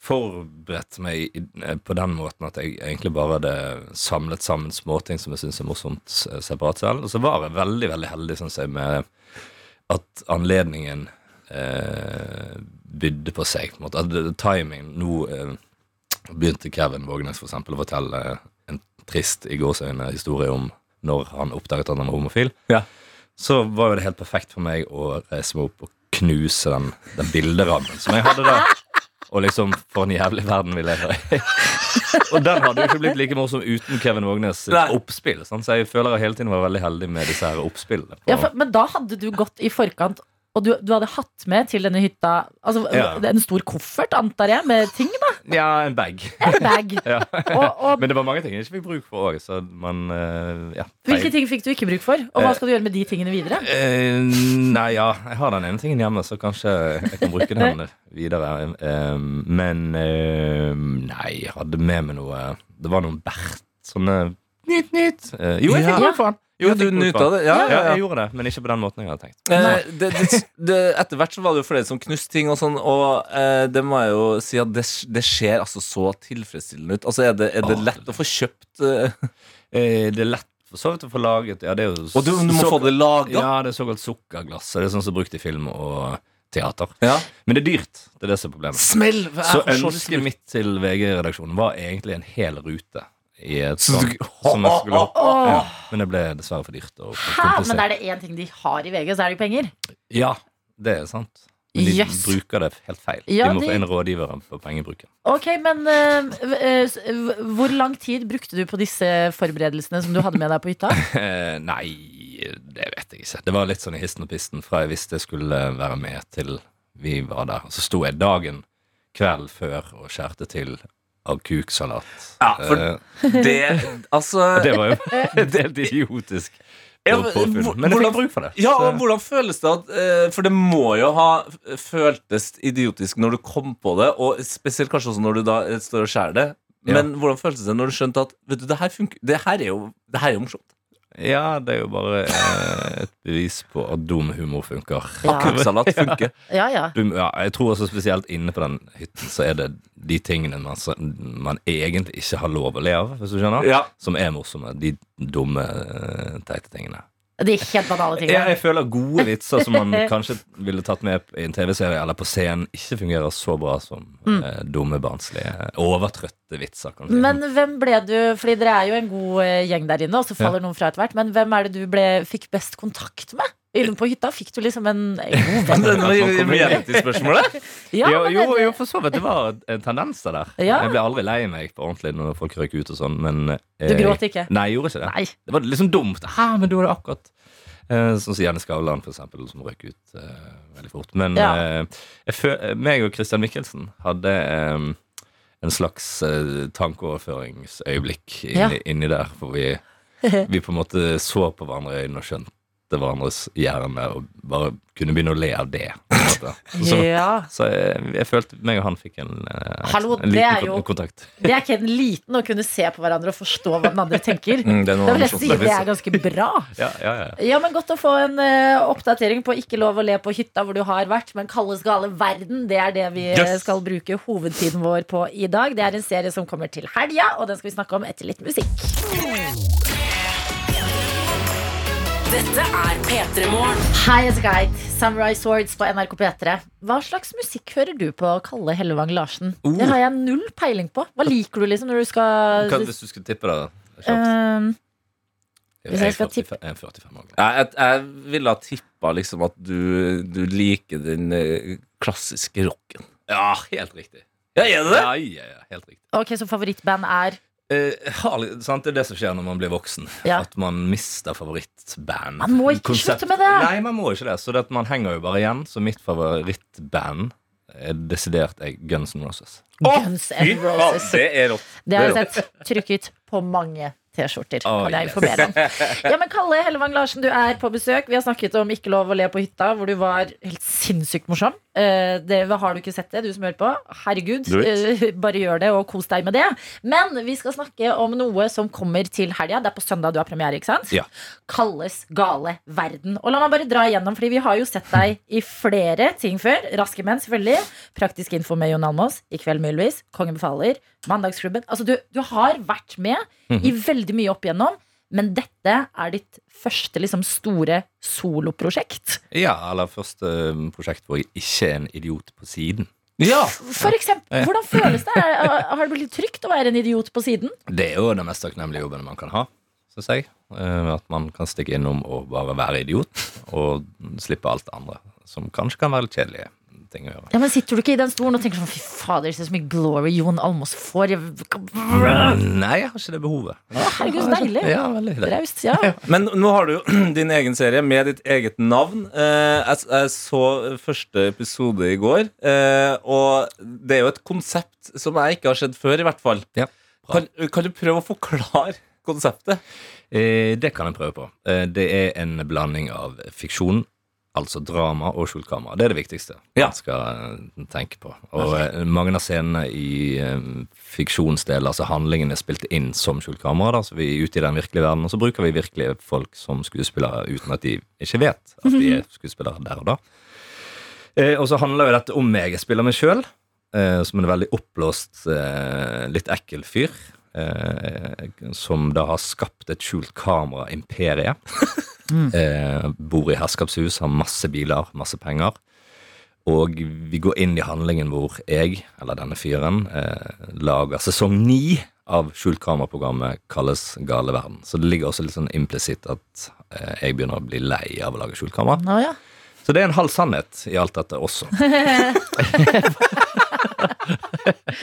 Speaker 5: forberedt meg i- eh, på den måten at jeg egentlig bare hadde samlet sammen småting som jeg syns er morsomt eh, separat selv. Og så var jeg veldig, veldig heldig, syns jeg, med at anledningen eh, bydde på seg. på en måte. At det- timing Nå eh, begynte Kevin Vågenes for eksempel å fortelle en trist i gåseøyne historie om når han oppdaget at han var homofil
Speaker 3: Ja.
Speaker 5: så var jo det helt perfekt for meg å reise meg opp og knuse den, den bilderammen som jeg hadde da. Og liksom, for en jævlig verden vi lever i. og den hadde jo ikke blitt like morsom uten Kevin Vågnes sitt
Speaker 3: Nei.
Speaker 5: oppspill. Sant? Så jeg føler jeg hele tiden var veldig heldig med disse her oppspillene. på-
Speaker 1: Ja, for, men da hadde du gått i forkant, og du, du hadde hatt med til denne hytta altså,
Speaker 5: Ja.
Speaker 1: en stor koffert, antar jeg, med ting, da?
Speaker 5: ja, en bag.
Speaker 1: En bag.
Speaker 5: Ja.
Speaker 1: Og, og
Speaker 5: Men det var mange ting jeg ikke fikk bruk for òg, så man eh, Ja.
Speaker 1: hvilke ting fikk du ikke bruk for? Og hva
Speaker 5: Eh.
Speaker 1: skal du gjøre med de tingene videre?
Speaker 5: Eh, nei, ja. Jeg har den ene tingen hjemme, så kanskje jeg kan bruke den videre. Eh, men eh, nei, jeg hadde med meg noe Det var noen bært. Sånne Nyt, nyt. Eh, jo, jeg
Speaker 3: Ja.
Speaker 5: fikk bruk for den. Jo, jeg
Speaker 3: du
Speaker 5: fikk bruk for
Speaker 3: nyta
Speaker 5: den.
Speaker 3: det? Ja,
Speaker 5: Ja,
Speaker 3: ja, ja.
Speaker 5: jeg gjorde det, men ikke på den måten jeg hadde tenkt.
Speaker 3: Eh, det, det, det, etter hvert så var det jo flere som knuste ting og sånn, og eh, det må jeg jo si at det, det ser altså så tilfredsstillende ut. Altså, er det, er det
Speaker 5: Åh.
Speaker 3: lett å få kjøpt eh,
Speaker 5: Eh, det er lett for så vidt å få laget ja, det er jo
Speaker 3: Og du, du må
Speaker 5: så-
Speaker 3: få det laga?
Speaker 5: Ja, det er såkalt sukkerglass. Det er sånn som er brukt i film og teater.
Speaker 3: Ja.
Speaker 5: Men det er dyrt. Det er det som er problemet.
Speaker 3: Smell! Jeg
Speaker 5: Så
Speaker 3: forstår det
Speaker 5: ønsket mitt til VG-redaksjonen var egentlig en hel rute. I et
Speaker 3: Så du-
Speaker 5: sånt, som jeg skulle hoppe.
Speaker 1: Åh.
Speaker 5: Ja, men det ble dessverre for dyrt. Og for
Speaker 1: Hæ? Men
Speaker 5: komplisert.
Speaker 1: er det én ting de har i VG, så er det jo penger.
Speaker 5: Ja, det er sant. Men de
Speaker 1: Yes.
Speaker 5: bruker det helt feil.
Speaker 1: Ja,
Speaker 5: de må
Speaker 1: de-
Speaker 5: få inn rådgivere på pengebruken.
Speaker 1: Ok, men eh, eh, s- eh, hvor lang tid brukte du på disse forberedelsene som du hadde med deg på hytta?
Speaker 5: Eh, nei, det vet jeg ikke. Det var litt sånn i histen og pisten fra jeg visste jeg skulle være med til vi var der. Og så sto jeg dagen kvelden før og skjærte til av kuksalat.
Speaker 3: Ja, for-
Speaker 5: Eh,
Speaker 3: Det, altså
Speaker 5: og det var jo helt idiotisk.
Speaker 3: Ja,
Speaker 5: og
Speaker 3: men
Speaker 5: påfunn.
Speaker 3: hvor-
Speaker 5: men jeg
Speaker 3: hvordan-
Speaker 5: fikk bruk for det.
Speaker 3: Ja,
Speaker 5: så-
Speaker 3: og hvordan føles det at eh, For det må jo ha føltes idiotisk når du kom på det, og spesielt kanskje også når du da eh, står og skjærer det.
Speaker 5: Ja.
Speaker 3: Men hvordan føltes det når du skjønte at Vet du, det her funker Det her er jo, det her er jo morsomt.
Speaker 5: Ja, det er jo bare eh, et bevis på at dum humor funker.
Speaker 1: Ja.
Speaker 3: Kukksalat funker.
Speaker 1: Ja, ja.
Speaker 5: Dum, ja, jeg tror også spesielt inne på den hytten så er det de tingene man, s- man egentlig ikke har lov å le av, hvis du skjønner,
Speaker 3: Ja.
Speaker 5: som er morsomme. De dumme, eh, teite tingene.
Speaker 1: De helt banale
Speaker 5: Jeg,
Speaker 1: tingene.
Speaker 5: jeg føler gode vitser som man kanskje ville tatt med i en TV-serie eller på scenen, ikke fungerer så bra som eh, dumme, barnslige, overtrøtte vitser. Kan man si.
Speaker 1: Men hvem ble du Fordi dere er jo en god eh, gjeng der inne, og så faller noen fra etter hvert. Men hvem er det du ble, fikk best kontakt med? Inne på hytta fikk du liksom en en god venn?
Speaker 3: Men det er noe gjennomtidsspørsmålet.
Speaker 1: Ja,
Speaker 5: jo,
Speaker 1: men
Speaker 5: jo,
Speaker 1: det-
Speaker 5: jo, for så vidt. Det var eh, tendenser der.
Speaker 1: Ja.
Speaker 5: Jeg ble aldri lei meg på ordentlig når folk røyk ut og sånn, men
Speaker 1: Du gråt ikke?
Speaker 5: Nei, jeg gjorde ikke det.
Speaker 1: Nei.
Speaker 5: Det var liksom dumt. Hæ, men du hadde akkurat eh, Sånn som Jenny Skavlan, for eksempel, som røyk ut eh, veldig fort. Men
Speaker 1: Ja.
Speaker 5: eh, jeg føl meg og Christian Michelsen hadde eh, en slags eh, tankeoverføringsøyeblikk inni,
Speaker 1: Ja.
Speaker 5: inni der, hvor vi, vi på en måte så på hverandre i øynene og skjønte hverandres hjerne og bare kunne begynne å le av det. på en måte. Så,
Speaker 1: Ja.
Speaker 5: så jeg, jeg følte meg og han fikk en, eh,
Speaker 1: Hallo,
Speaker 5: en
Speaker 1: det er
Speaker 5: liten
Speaker 1: jo-
Speaker 5: kon- kontakt.
Speaker 1: Det er ikke en liten å kunne se på hverandre og forstå hva den andre tenker.
Speaker 3: Mm, det er
Speaker 1: Da vil jeg si det er ganske bra.
Speaker 5: Ja, ja, ja.
Speaker 1: Ja, men Godt å få en eh, oppdatering på Ikke lov å le på hytta hvor du har vært, men Kalles gale verden. Det er det vi eh,
Speaker 3: Yes.
Speaker 1: skal bruke hovedtiden vår på i dag. Det er en serie som kommer til helga, og den skal vi snakke om etter litt musikk.
Speaker 2: Dette er P3 Morgen.
Speaker 1: Hei, it's guide. Samurai Swords på NRK P3. Hva slags musikk hører du på, Kalle Hellevang Larsen?
Speaker 3: Oh.
Speaker 1: Det har jeg null peiling på. Hva liker du liksom når du skal
Speaker 5: Hva, hvis du skulle tippe det? kjapt?
Speaker 1: Ehm,
Speaker 5: Jeg
Speaker 1: Hvis jeg
Speaker 5: er
Speaker 1: skal
Speaker 5: 45 jeg er 45 år.
Speaker 3: Ja, jeg, jeg ville ha tippa liksom at du, du liker den eh, klassiske rocken.
Speaker 5: Ja, helt riktig.
Speaker 3: Ja, er det det?
Speaker 5: Ja, ja, ja, helt riktig.
Speaker 1: Ok, Så favorittband er
Speaker 5: Eh, Harley- sant? Det er det som skjer når man blir voksen.
Speaker 1: Ja.
Speaker 5: At man mister favorittband.
Speaker 1: Man må ikke
Speaker 5: Konsept.
Speaker 1: slutte med det!
Speaker 5: Nei, man må ikke det. Så det at man henger jo bare igjen. Så mitt favorittband er desidert er Guns N' Roses.
Speaker 1: Guns
Speaker 3: Fy
Speaker 1: N'
Speaker 3: faen,
Speaker 1: Roses.
Speaker 3: det er rått.
Speaker 1: Det har
Speaker 5: Det
Speaker 1: jeg sett trykket på mange T-skjorter.
Speaker 5: Oh,
Speaker 1: kan jeg
Speaker 5: yes.
Speaker 1: informere om. Ja, men Kalle Hellevang Larsen, du er på besøk. Vi har snakket om Ikke lov å le på hytta, hvor du var helt sinnssykt morsom. Eh, Det, hva har du ikke sett det, du som hører på? Herregud,
Speaker 3: Do it.
Speaker 1: eh, bare gjør det og kos deg med det. Men vi skal snakke om noe som kommer til helga. Det er på søndag du har premiere, ikke sant?
Speaker 5: Ja.
Speaker 1: Kalles gale verden. Og la meg bare dra igjennom, fordi vi har jo sett deg i flere ting før. Raske menn, selvfølgelig. Praktisk info med Jon Almaas. I kveld, Mylvis. Kongen befaler. Mandagsklubben. Altså, du, du har vært med i veldig mye opp igjennom, men dette er ditt første liksom, store soloprosjekt.
Speaker 5: Ja, eller første eh, prosjekt hvor jeg ikke er en idiot på siden.
Speaker 3: Ja.
Speaker 1: For eksempel, hvordan føles det? Er- Har det blitt litt trygt å være en idiot på siden?
Speaker 5: Det er jo den mest takknemlige jobben man kan ha, syns jeg. Eh, At man kan stikke innom og bare være idiot, og slippe alt det andre. Som kanskje kan være litt kjedelige ting å gjøre.
Speaker 1: Ja, men Sitter du ikke i den stolen og tenker sånn Fy fader, se så mye glory Jon Almaas får. Jeg...
Speaker 5: Nei, jeg har ikke det behovet.
Speaker 1: herregud, så deilig.
Speaker 5: Ja, veldig deilig.
Speaker 1: Raust, ja.
Speaker 3: Men nå har du jo din egen serie med ditt eget navn. Eh, jeg, jeg så første episode i går, eh, og det er jo et konsept som jeg ikke har sett før, i hvert fall.
Speaker 5: Ja, bra.
Speaker 3: kan, kan du prøve å forklare konseptet?
Speaker 5: Eh, det kan jeg prøve på. Eh, det er en blanding av fiksjon, altså drama og skjult kamera. Det er det viktigste
Speaker 3: Ja.
Speaker 5: man skal eh, tenke på. Og eh, mange av scenene i eh, fiksjonsdelen, altså handlingen, er spilt inn som skjult kamera. Da, så vi er ute i den virkelige verden, og så bruker vi virkelige folk som skuespillere uten at de ikke vet at de er skuespillere der og da. Eh, og så handler jo dette om meg. Jeg spiller meg sjøl. Eh, som en veldig oppblåst, eh, litt ekkel fyr. Eh, som da har skapt et skjult kamera-imperie. eh, bor i herskapshus, har masse biler, masse penger. Og vi går inn i handlingen hvor jeg, eller denne fyren, eh, lager sesong ni av skjult kamera-programmet kalles Gale verden. Så det ligger også litt sånn implisitt at eh, jeg begynner å bli lei av å lage skjult kamera.
Speaker 1: Nå, ja.
Speaker 5: Så det er en halv sannhet i alt dette også.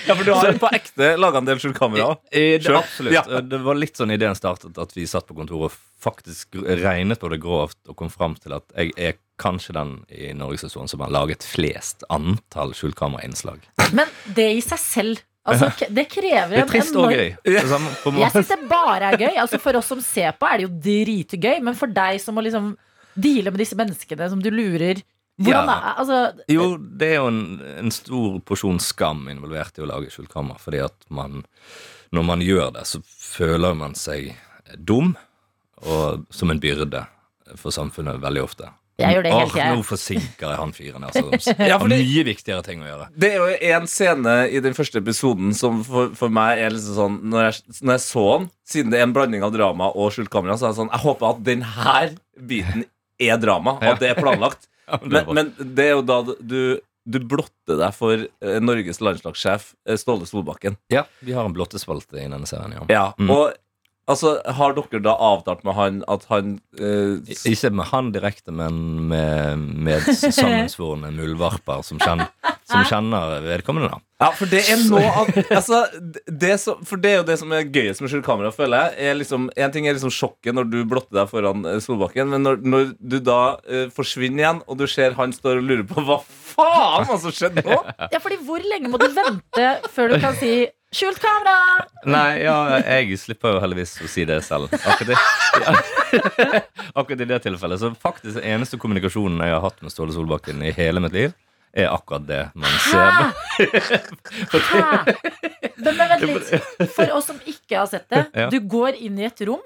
Speaker 3: Ja, for du har på ekte laga en del skjult kamera.
Speaker 5: Eh, det,
Speaker 3: Sure.
Speaker 5: absolutt.
Speaker 3: Ja.
Speaker 5: Eh, Det var litt sånn ideen startet, at vi satt på kontoret og faktisk regnet på det grovt og kom fram til at jeg er kanskje den i norgeshistorien som har laget flest antall skjultkamerainnslag.
Speaker 1: Men det i seg selv altså, k- Det krever
Speaker 5: Det er
Speaker 1: en
Speaker 5: trist og
Speaker 1: enorm-
Speaker 5: gøy. Det samme på en
Speaker 1: Jeg
Speaker 5: måte.
Speaker 1: syns det bare er gøy. Altså, for oss som ser på, er det jo dritgøy. Men for deg som må liksom deale med disse menneskene som du lurer Hvordan
Speaker 5: Ja.
Speaker 1: er altså,
Speaker 5: Jo, det er jo en, en stor porsjon skam involvert i å lage skjultkammer, fordi at man, når man gjør det, så føler man seg dum og som en byrde for samfunnet veldig ofte.
Speaker 1: Jeg gjør det hele
Speaker 5: Åh,
Speaker 1: tiden.
Speaker 5: Nå forsinker jeg han fyren. Altså.
Speaker 3: Ja,
Speaker 5: Har
Speaker 3: for det-
Speaker 5: mye viktigere ting å gjøre.
Speaker 3: Det er jo en scene i den første episoden som for, for meg er liksom sånn når jeg, når jeg så den, siden det er en blanding av drama og skjult kamera, så er jeg sånn Jeg håper at den her biten er drama, og at det er planlagt.
Speaker 5: det er
Speaker 3: Men,
Speaker 5: bra.
Speaker 3: men det er jo da du, du blotter deg for eh, Norges landslagssjef eh, Ståle Solbakken.
Speaker 5: Ja, vi har en blottespalte i denne serien, ja.
Speaker 3: Ja,
Speaker 5: Mm.
Speaker 3: Og altså, har dere da avtalt med han at han eh, s-
Speaker 5: I- Ikke med han direkte, men med, med s- sammensvorne muldvarper som, kjen- som kjenner vedkommende, da.
Speaker 3: Ja, for det er noe av altså, det- det som, For det er jo det som er gøyest med skjult kamera, føler jeg. Er liksom, en ting er liksom sjokket når du blotter deg foran eh, Solbakken, men når, når du da eh, forsvinner igjen, og du ser han står og lurer på hva faen hva som skjedde nå?
Speaker 1: Ja, fordi hvor lenge må du vente før du kan si 'skjult kamera'?
Speaker 5: Nei, ja, jeg slipper jo heldigvis å si det selv. Akkurat i, akkurat i det tilfellet. Så faktisk den eneste kommunikasjonen jeg har hatt med Ståle Solbakken i hele mitt liv, er akkurat det man ser.
Speaker 1: Hæ? Hæ? Men, men vent litt. For oss som ikke har sett det.
Speaker 5: Ja.
Speaker 1: Du går inn i et rom.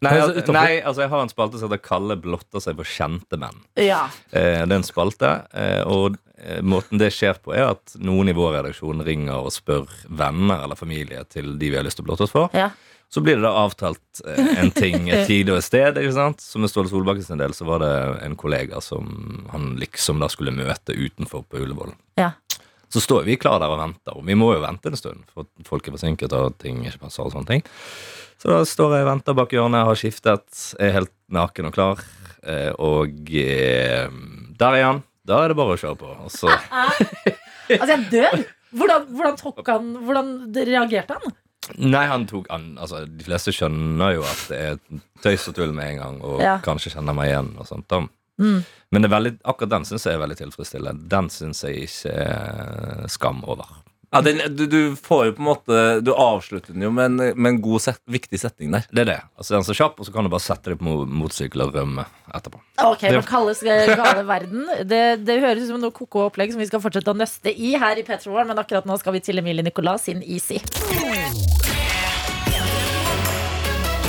Speaker 5: Nei,
Speaker 3: Altså,
Speaker 5: al-
Speaker 3: utenfor-
Speaker 5: nei, altså jeg har en spalte som heter 'Kalle blotter seg for kjente menn'.
Speaker 1: Ja.
Speaker 5: Eh, det er en spalte, eh, og eh, måten det skjer på, er at noen i vår redaksjon ringer og spør venner eller familie til de vi har lyst til å blotte oss for.
Speaker 1: ja.
Speaker 5: Så blir det da avtalt eh, en ting, et tid og et sted. ikke sant? Så med Ståle Solbakken sin del så var det en kollega som han liksom da skulle møte utenfor på Ullevål.
Speaker 1: ja.
Speaker 5: Så står vi klar der og venter, og vi må jo vente en stund, for folk er forsinket og ting ikke passer og sånne ting. Så da står jeg og venter bak hjørnet, har skiftet, er helt naken og klar, eh, og eh, der er han. Da er det bare å kjøre på. Og så
Speaker 1: Altså, jeg dør! Hvordan, hvordan tok han Hvordan reagerte han?
Speaker 5: Nei, han tok an, altså, De fleste skjønner jo at det er tøys og tull med en gang, og
Speaker 1: Ja.
Speaker 5: kanskje kjenner meg igjen. og sånt da.
Speaker 1: Mm.
Speaker 5: Men det er veldig, akkurat den syns jeg er veldig tilfredsstillende. Den syns jeg ikke er skam over.
Speaker 3: Ja, den, du, du får jo på en måte Du avslutter den jo med en, med en god set, viktig setning der.
Speaker 5: Det er det. Altså, den er så kjapp, og så kan du bare sette deg på mo- motorsykkel og rømme etterpå.
Speaker 1: Ok,
Speaker 5: Det-
Speaker 1: Hva kalles eh, gale verden? Det, det høres ut som noe koko opplegg som vi skal fortsette å nøste i her i Petra Morgen, men akkurat nå skal vi til Emilie Nicolas sin Easy.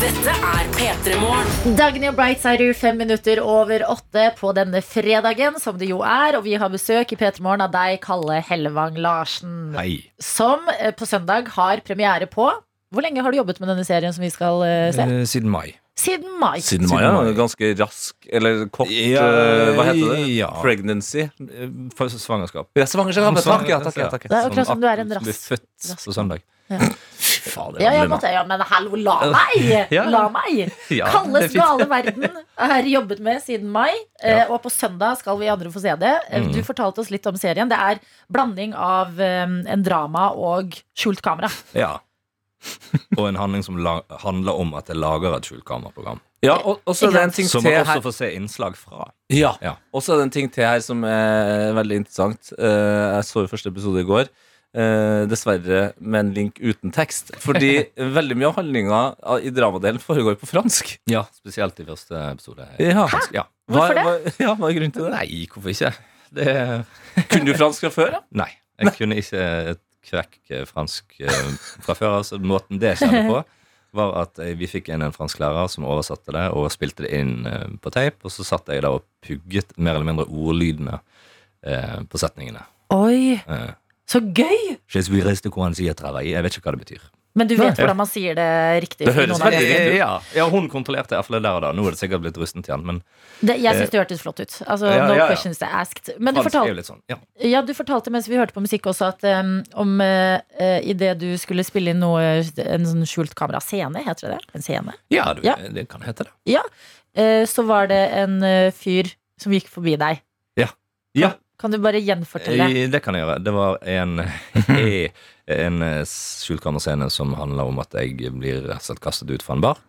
Speaker 2: Dette er P3 Morgen.
Speaker 1: Dagny og Bright er jo fem minutter over åtte på denne fredagen, som det jo er. Og vi har besøk i P3 Morgen av deg, Kalle Hellevang Larsen.
Speaker 5: Hei.
Speaker 1: Som eh, på søndag har premiere på Hvor lenge har du jobbet med denne serien som vi skal eh, se?
Speaker 5: Eh, Siden mai.
Speaker 1: Siden mai.
Speaker 3: Siden mai, ja. Ganske rask Eller kort
Speaker 5: Ja,
Speaker 3: eh, Hva heter det?
Speaker 5: ja.
Speaker 3: Pregnancy.
Speaker 5: Eh, For svangerskap.
Speaker 3: Ja, svangerskap. Takk, ja. Takk, ja, takk,
Speaker 1: Det
Speaker 3: ja.
Speaker 1: er akkurat som du er en
Speaker 5: Som Blir
Speaker 1: rask-
Speaker 5: sånn født
Speaker 1: rask-
Speaker 5: på søndag.
Speaker 1: Ja.
Speaker 5: Fy faen, det
Speaker 1: Ja,
Speaker 5: er
Speaker 1: jeg
Speaker 5: veldig
Speaker 1: måtte, ja, men hallo, la meg!
Speaker 5: Ja.
Speaker 1: La meg!
Speaker 5: Ja, det er
Speaker 1: Kalles
Speaker 5: fint.
Speaker 1: gale verden er jobbet med siden mai, eh, og på søndag skal vi andre få se det. Eh,
Speaker 5: Mm.
Speaker 1: Du fortalte oss litt om serien. Det er blanding av eh, en drama og skjult kamera.
Speaker 5: Ja. Og en handling som la handler om at jeg lager et skjult kameraprogram.
Speaker 3: ja og, og så er det en ting
Speaker 5: Som
Speaker 3: til
Speaker 5: man
Speaker 3: her.
Speaker 5: også får se innslag fra.
Speaker 3: Ja.
Speaker 5: Ja.
Speaker 3: Og så er det en ting til her som er veldig interessant. Eh, jeg så jo første episode i går. eh, dessverre med en link uten tekst. Fordi veldig mye av handlinga i dramadelen foregår på fransk.
Speaker 5: Ja, spesielt i første episode.
Speaker 3: Ja.
Speaker 5: Ja.
Speaker 1: Hvorfor det?
Speaker 3: Hva, ja, hva er grunnen til det?
Speaker 5: Nei, hvorfor ikke? Det
Speaker 3: Kunne du fransk fra før? da?
Speaker 5: Nei. Jeg kunne ikke et kvekk eh, fransk eh, fra før. Altså, måten det skjedde på, var at eh, vi fikk inn en fransklærer som oversatte det og spilte det inn eh, på teip. Og så satt jeg da og pugget mer eller mindre ordlydene eh, på setningene.
Speaker 1: Oi,
Speaker 5: Eh,
Speaker 1: så gøy!
Speaker 5: Je suis resté coin si et travail. Jeg vet ikke hva det betyr.
Speaker 1: Men du vet hvordan man sier det riktig.
Speaker 3: Det
Speaker 1: for
Speaker 3: høres
Speaker 1: noen av
Speaker 3: veldig
Speaker 1: dere.
Speaker 3: riktig ut.
Speaker 5: Ja, ja, hun kontrollerte iallfall det der og da. Nå er det sikkert blitt rustent igjen, men
Speaker 1: det, jeg syns det hørtes flott ut. Altså,
Speaker 5: Eh. Ja,
Speaker 1: no
Speaker 5: ja, ja.
Speaker 1: questions asked. Men du
Speaker 5: fransk er
Speaker 1: fortalte
Speaker 5: jo litt sånn. Ja.
Speaker 1: Ja, du fortalte mens vi hørte på musikk også at um, om uh, uh, idet du skulle spille inn noe En sånn skjult kamera-scene, heter det det? En scene?
Speaker 5: Ja, du,
Speaker 1: Ja.
Speaker 5: det kan hete det.
Speaker 1: Ja. Uh, så var det en uh, fyr som gikk forbi deg.
Speaker 5: Ja. Ja.
Speaker 1: Kan du bare gjenfortelle?
Speaker 5: Eh, Det kan jeg gjøre. Det var en, en eh, skjulkammerscene som handler om at jeg blir rett og slett kastet ut fra en bar.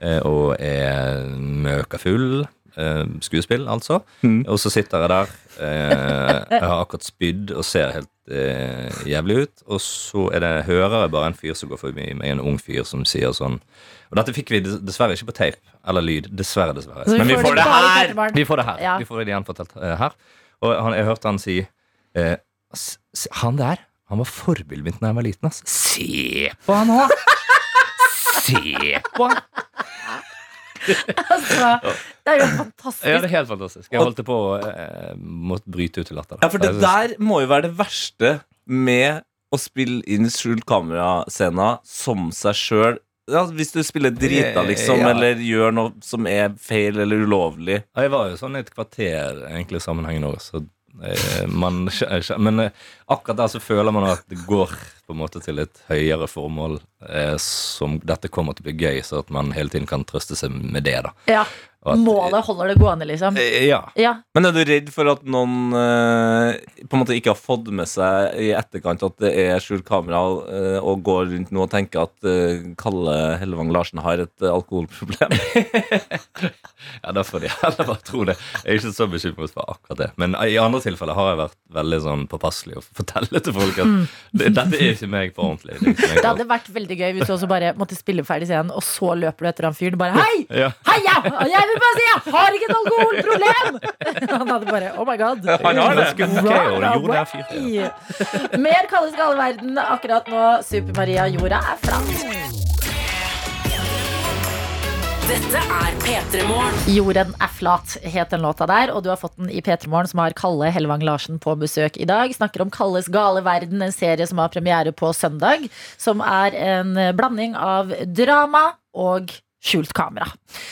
Speaker 5: eh, Og er møkafull. eh, Skuespill, altså.
Speaker 3: Mm.
Speaker 5: Og så sitter jeg der. eh, Jeg har akkurat spydd og ser helt eh, jævlig ut. Og så er det, hører jeg bare en fyr som går forbi meg, en ung fyr som sier sånn Og dette fikk vi dess- dessverre ikke på tape eller lyd. Dessverre, dessverre.
Speaker 1: Så
Speaker 5: Men vi får det
Speaker 1: bare i
Speaker 5: her!
Speaker 1: Petermorgen.
Speaker 5: Vi får det her.
Speaker 1: Ja.
Speaker 5: Vi får det gjenfortalt eh, her. Og han, jeg hørte han si eh, s- s- Han der, han var forbildet mitt da jeg var liten, ass. Se på han nå! Se på han!
Speaker 1: Altså, det er jo
Speaker 5: Ja, det
Speaker 1: fantastisk.
Speaker 5: er helt fantastisk. Jeg holdt på å eh, måtte bryte ut i latter. da.
Speaker 3: Ja, for det
Speaker 5: Jeg synes-
Speaker 3: der må jo være det verste med å spille inn skjult kamerascena som seg sjøl. Ja, hvis du spiller drita, liksom,
Speaker 5: Ja.
Speaker 3: eller gjør noe som er feil eller ulovlig.
Speaker 5: Ja, Jeg var jo sånn i et kvarter egentlig i sammenhengen òg, så eh, man, skj- skj- Men eh, akkurat der så føler man at det går på en måte til et høyere formål eh, som dette kommer til å bli gøy, så at man hele tiden kan trøste seg med det, da.
Speaker 1: Ja.
Speaker 5: Og at-
Speaker 1: Målet holder det gående, liksom.
Speaker 5: Eh, Ja.
Speaker 1: Ja.
Speaker 3: Men er du redd for at noen eh, på en måte ikke har fått med seg i etterkant at det er skjult kamera, eh, og går rundt nå og tenker at eh, Kalle Hellevang Larsen har et eh, alkoholproblem?
Speaker 5: Ja, da får de heller bare tro det. Jeg er ikke så bekymret for akkurat det. Men i andre tilfeller har jeg vært veldig sånn påpasselig og fortelle til folk at det, dette er ikke meg på ordentlig. Det er ikke meg
Speaker 1: Det
Speaker 5: på
Speaker 1: hadde vært veldig gøy hvis du også bare måtte spille ferdig scenen, og så løper du etter han fyren. Bare hei!
Speaker 5: ordentlig. ja.
Speaker 1: Hei, ja! jeg vil bare si jeg har ikke et alkoholproblem! Han hadde bare oh my god.
Speaker 3: Han har det.
Speaker 5: Ganske ok, og det gjorde jeg fyrt. Ja.
Speaker 1: Right. Mer kalles gale verden akkurat nå. Super-Maria Jorda er flat.
Speaker 2: Dette er P3 Morgen.
Speaker 1: Jorden er flat, het den låta der. Og du har fått den i P3 Morgen, som har Kalle Hellevang Larsen på besøk i dag. Snakker om Kalles gale verden, en serie som har premiere på søndag. Som er en eh, blanding av drama og skjult kamera.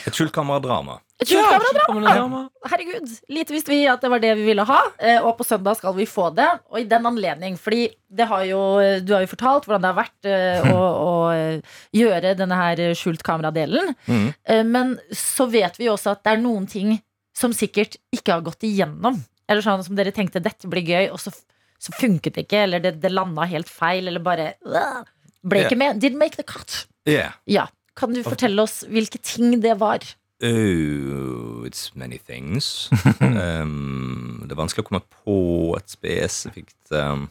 Speaker 5: Et skjult kameradrama.
Speaker 1: Et skjult kamera?
Speaker 3: kameradrama!
Speaker 1: Herregud, lite visste vi at det var det vi ville ha. eh, Og på søndag skal vi få det. Og i den anledning, fordi det har jo, du har jo fortalt hvordan det har vært eh, å, å eh, gjøre denne her skjult kamera-delen.
Speaker 5: Mhm.
Speaker 1: Eh, Men så vet vi jo også at det er noen ting som sikkert ikke har gått igjennom. Eller sånn som dere tenkte dette blir gøy, og så, så funket det ikke. Eller det, det landa helt feil, eller bare øh, ble ikke med. Didn't make the cut.
Speaker 5: Yeah.
Speaker 1: Ja. Kan du fortelle oss hvilke ting det var?
Speaker 5: Oh, it's many things. um, det er vanskelig å komme på et spesifikt um,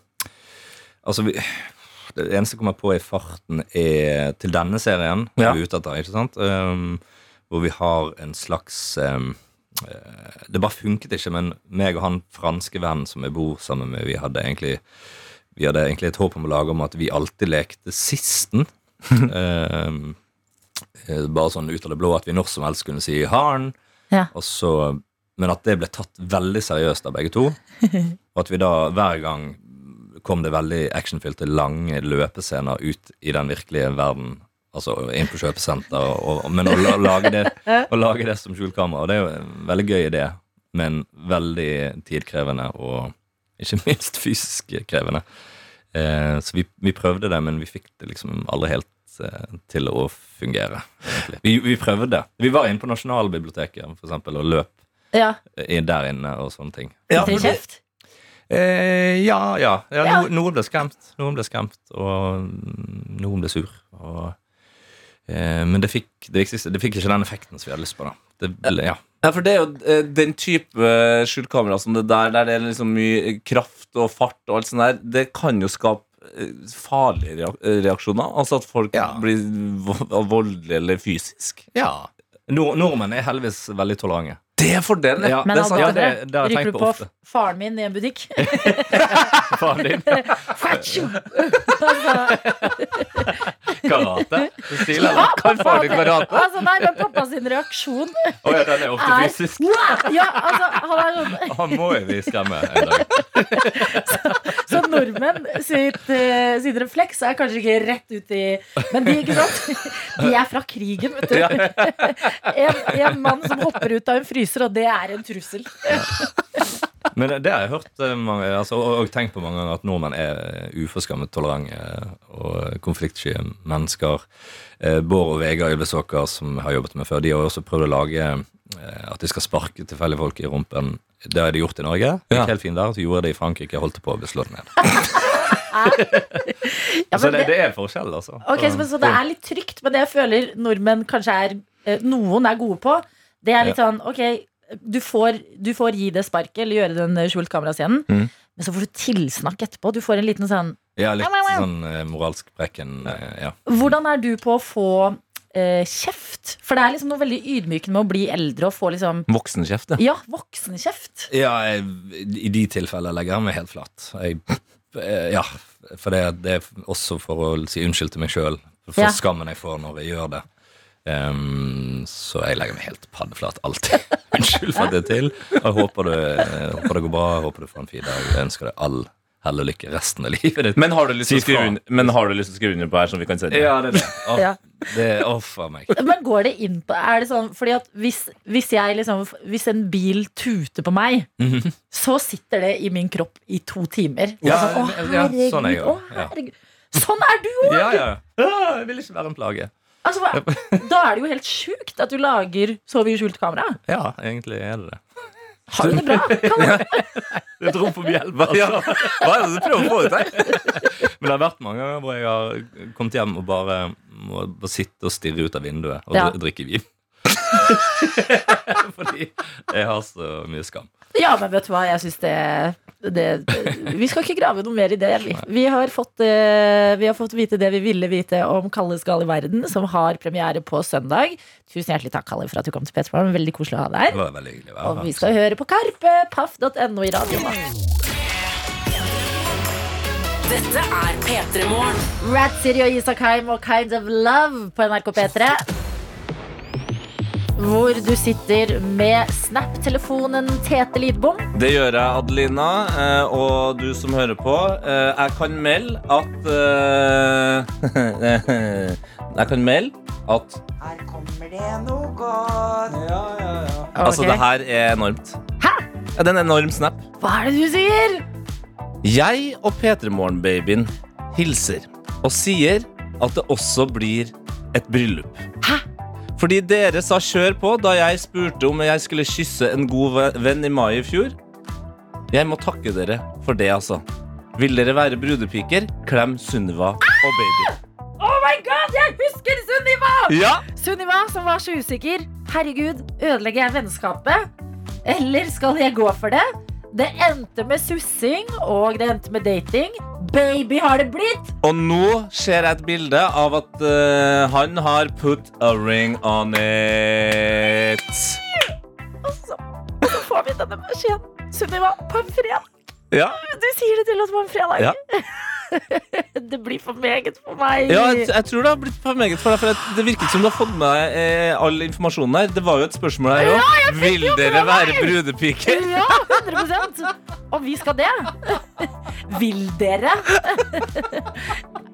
Speaker 5: Altså, vi, det eneste jeg kommer på i farten, er til denne serien
Speaker 3: Ja.
Speaker 5: vi er ute etter, ikke sant? Um, hvor vi har en slags um, eh, Det bare funket ikke, men meg og han franske vennen som jeg bor sammen med, vi hadde egentlig vi hadde egentlig et håp om å lage om at vi alltid lekte sisten. um, eh, bare sånn ut av det blå at vi når som helst kunne si 'har'n'.
Speaker 1: Ja.
Speaker 5: Og så, men at det ble tatt veldig seriøst av begge to. Og at vi da hver gang kom det veldig actionfylte, lange løpescener ut i den virkelige verden. Altså inn på kjøpesenter, og, og, men å, la- lage det, å lage det som skjult kamera. Og det er jo en veldig gøy idé, men veldig tidkrevende og ikke minst fysisk krevende. Eh, så vi, vi prøvde det, men vi fikk det liksom aldri helt eh, til å fungere. egentlig. Vi, vi prøvde. Vi var inne på Nasjonalbiblioteket for eksempel, og løp
Speaker 1: Ja,
Speaker 5: i- der inne og sånne ting.
Speaker 3: Ja,
Speaker 1: Tre
Speaker 3: for det-
Speaker 1: kjeft?
Speaker 5: Eh, ja, ja. ja,
Speaker 1: Ja.
Speaker 5: No, noen ble skremt. Noen ble skremt, og mm, noen ble sur. Og, eh, men det fikk, det, viktigste, det fikk ikke den effekten som vi hadde lyst på. da. Det, ble- ja.
Speaker 3: Ja, for det er jo eh, den type eh, skjult kamera som det der, der det er liksom mye kraft og fart og alt sånt der, det kan jo skape eh, farlige reak- reaksjoner. Altså at folk
Speaker 5: Ja.
Speaker 3: blir vo- voldelige eller fysisk.
Speaker 5: ja. Nor nordmenn er heldigvis veldig tolerante.
Speaker 3: Det er fordelen!
Speaker 5: Ja,
Speaker 1: Men
Speaker 5: det er
Speaker 1: han
Speaker 5: sant. Ja,
Speaker 1: valgte
Speaker 5: det, det har jeg
Speaker 1: Rykker du
Speaker 5: tenkt på
Speaker 1: på
Speaker 5: ofte.
Speaker 1: f- faren min i en butikk?
Speaker 5: Faren din.
Speaker 1: Fatsjo!
Speaker 5: Karate? Stil, eller?
Speaker 1: Ja,
Speaker 5: Kan
Speaker 1: pappa
Speaker 5: faen ikke karate?
Speaker 1: Altså, nei, men pappa sin reaksjon
Speaker 5: Å ja, den er ofte
Speaker 1: er
Speaker 5: fysisk.
Speaker 1: Ja, altså, han er sånn
Speaker 5: Han må jo vi skremme en dag.
Speaker 1: Så nordmenn sitt, eh, sitt refleks er kanskje ikke rett ut i Men de, ikke sant? De er fra krigen, vet du. En, en mann som hopper ut av en fryser, og det er en trussel.
Speaker 5: Men det har jeg hørt eh, mange, altså, og, og tenkt på mange ganger, at nordmenn er eh, uforskammet tolerante eh, og konfliktsky mennesker. Eh, Bård og Vegard Ylvesåker, som jeg har jobbet med før, de har også prøvd å lage eh, at de skal sparke tilfeldige folk i rumpen. Det har de gjort i Norge. Det
Speaker 3: Ja.
Speaker 5: gikk helt fint der, Så gjorde jeg det i Frankrike. Jeg holdt på å bli slått ned.
Speaker 1: Ja,
Speaker 5: så
Speaker 1: men
Speaker 5: det,
Speaker 1: det,
Speaker 5: det er forskjell, altså.
Speaker 1: ok, så, så det er litt trygt, men det jeg føler nordmenn kanskje er eh, Noen er gode på, det er litt sånn Ok, du får, du får gi det sparket, eller gjøre den eh, skjult kamerascenen,
Speaker 5: Mhm.
Speaker 1: men så får du tilsnakk etterpå. Du får en liten sånn
Speaker 5: Ja, litt sånn eh, moralsk brekken. eh, Ja.
Speaker 1: Hvordan er du på å få eh, kjeft? For det er liksom noe veldig ydmykende med å bli eldre og få liksom
Speaker 3: Voksenkjeft, ja.
Speaker 1: Ja, voksenkjeft.
Speaker 5: Ja, jeg, i de tilfellene legger jeg meg helt flat. Jeg, eh, ja, for det, det er også for å si unnskyld til meg sjøl for
Speaker 1: Ja.
Speaker 5: skammen jeg får når jeg gjør det. Ehm, så jeg legger meg helt paddeflat alltid. Unnskyld for at det er til. Jeg håper det, jeg håper det går bra, jeg håper du får en fin dag. Jeg ønsker deg all hell og lykke resten av livet ditt.
Speaker 3: Men har du lyst til
Speaker 5: Si
Speaker 3: å skrive
Speaker 5: fra.
Speaker 3: under, men har du lyst til å skrive under på her, som vi kan sende?
Speaker 5: ja, det er det. Å,
Speaker 1: Ja.
Speaker 5: det er å, faen meg.
Speaker 1: Men går det inn på Er det sånn Fordi at hvis, hvis jeg liksom Hvis en bil tuter på meg, så sitter det i min kropp i to timer. Det er
Speaker 5: Mhm. Ja,
Speaker 1: sånn, å,
Speaker 5: ja,
Speaker 1: herregud,
Speaker 5: sånn er jeg
Speaker 1: å,
Speaker 5: også, ja.
Speaker 1: herregud. Sånn er du òg!
Speaker 5: Ja, ja. Ah, Jeg vil ikke være en plage.
Speaker 1: Altså, hva- da er det jo helt sjukt at du lager så mye skjult kamera.
Speaker 5: Ja, egentlig er det det.
Speaker 1: Har du det bra? Kan
Speaker 5: Det er et rom for hjelp,
Speaker 3: Ja. Hva er det du prøver å få ut her?
Speaker 5: altså. Men det har vært mange ganger hvor jeg har kommet hjem og bare må bare sitte og stirre ut av vinduet og
Speaker 1: Ja.
Speaker 5: dri- drikke vin. Fordi jeg har så mye skam.
Speaker 1: Ja, men vet du hva, jeg syns det, det Vi skal ikke grave noe mer i det. Vi, vi, har fått, eh, vi har fått vite det vi ville vite om Kalle skal i verden, som har premiere på søndag. Tusen hjertelig takk, Kalle, for at du kom til P3morgen. Veldig koselig å ha deg
Speaker 5: Det
Speaker 1: her.
Speaker 5: var veldig hyggelig å være
Speaker 1: Og
Speaker 5: her.
Speaker 1: vi skal høre på Karpe, paff.no i radioen. da.
Speaker 2: Dette er P3 Morgen.
Speaker 1: Rat City og Isak Heim og Kind of Love på NRK P3. Hvor du sitter med Snap-telefonen Tete Lidbom.
Speaker 3: Det gjør jeg, Adelina, eh, og du som hører på. Eh, Jeg kan melde at eh, Jeg kan melde at
Speaker 6: Her kommer kommer det noe godt.
Speaker 3: Altså,
Speaker 1: Ok.
Speaker 3: det her er enormt.
Speaker 1: Hæ?
Speaker 3: Ja, det er en enorm snap.
Speaker 1: Hva er det du sier?
Speaker 3: Jeg og P3morgen-babyen hilser og sier at det også blir et bryllup.
Speaker 1: Hæ?
Speaker 3: Fordi dere sa kjør på da jeg spurte om jeg skulle kysse en god ve- venn i mai i fjor. Jeg må takke dere for det, altså. Vil dere være brudepiker? Klem Sunniva og baby.
Speaker 1: Oh my god, jeg husker Sunniva!
Speaker 3: Ja!
Speaker 1: Sunniva som var så usikker. Herregud, ødelegger jeg vennskapet? Eller skal jeg gå for det? Det endte med sussing, og det endte med dating. Baby har det blitt!
Speaker 3: Og nå ser jeg et bilde av at eh, han har put a ring on it.
Speaker 1: Og så, og så får vi denne beskjeden. Sunniva, på en fredag.
Speaker 3: Ja,
Speaker 1: Du sier det til oss på en fredag.
Speaker 3: Ja.
Speaker 1: det blir for meget for meg.
Speaker 3: ja jeg, jeg tror det har blitt for meget for deg. For det- det virker ikke som du har fått med deg eh, all informasjonen her. Det var jo et spørsmål her òg. Vil dere være brudepiker?
Speaker 1: Ja, 100 Og vi skal det. Vil dere?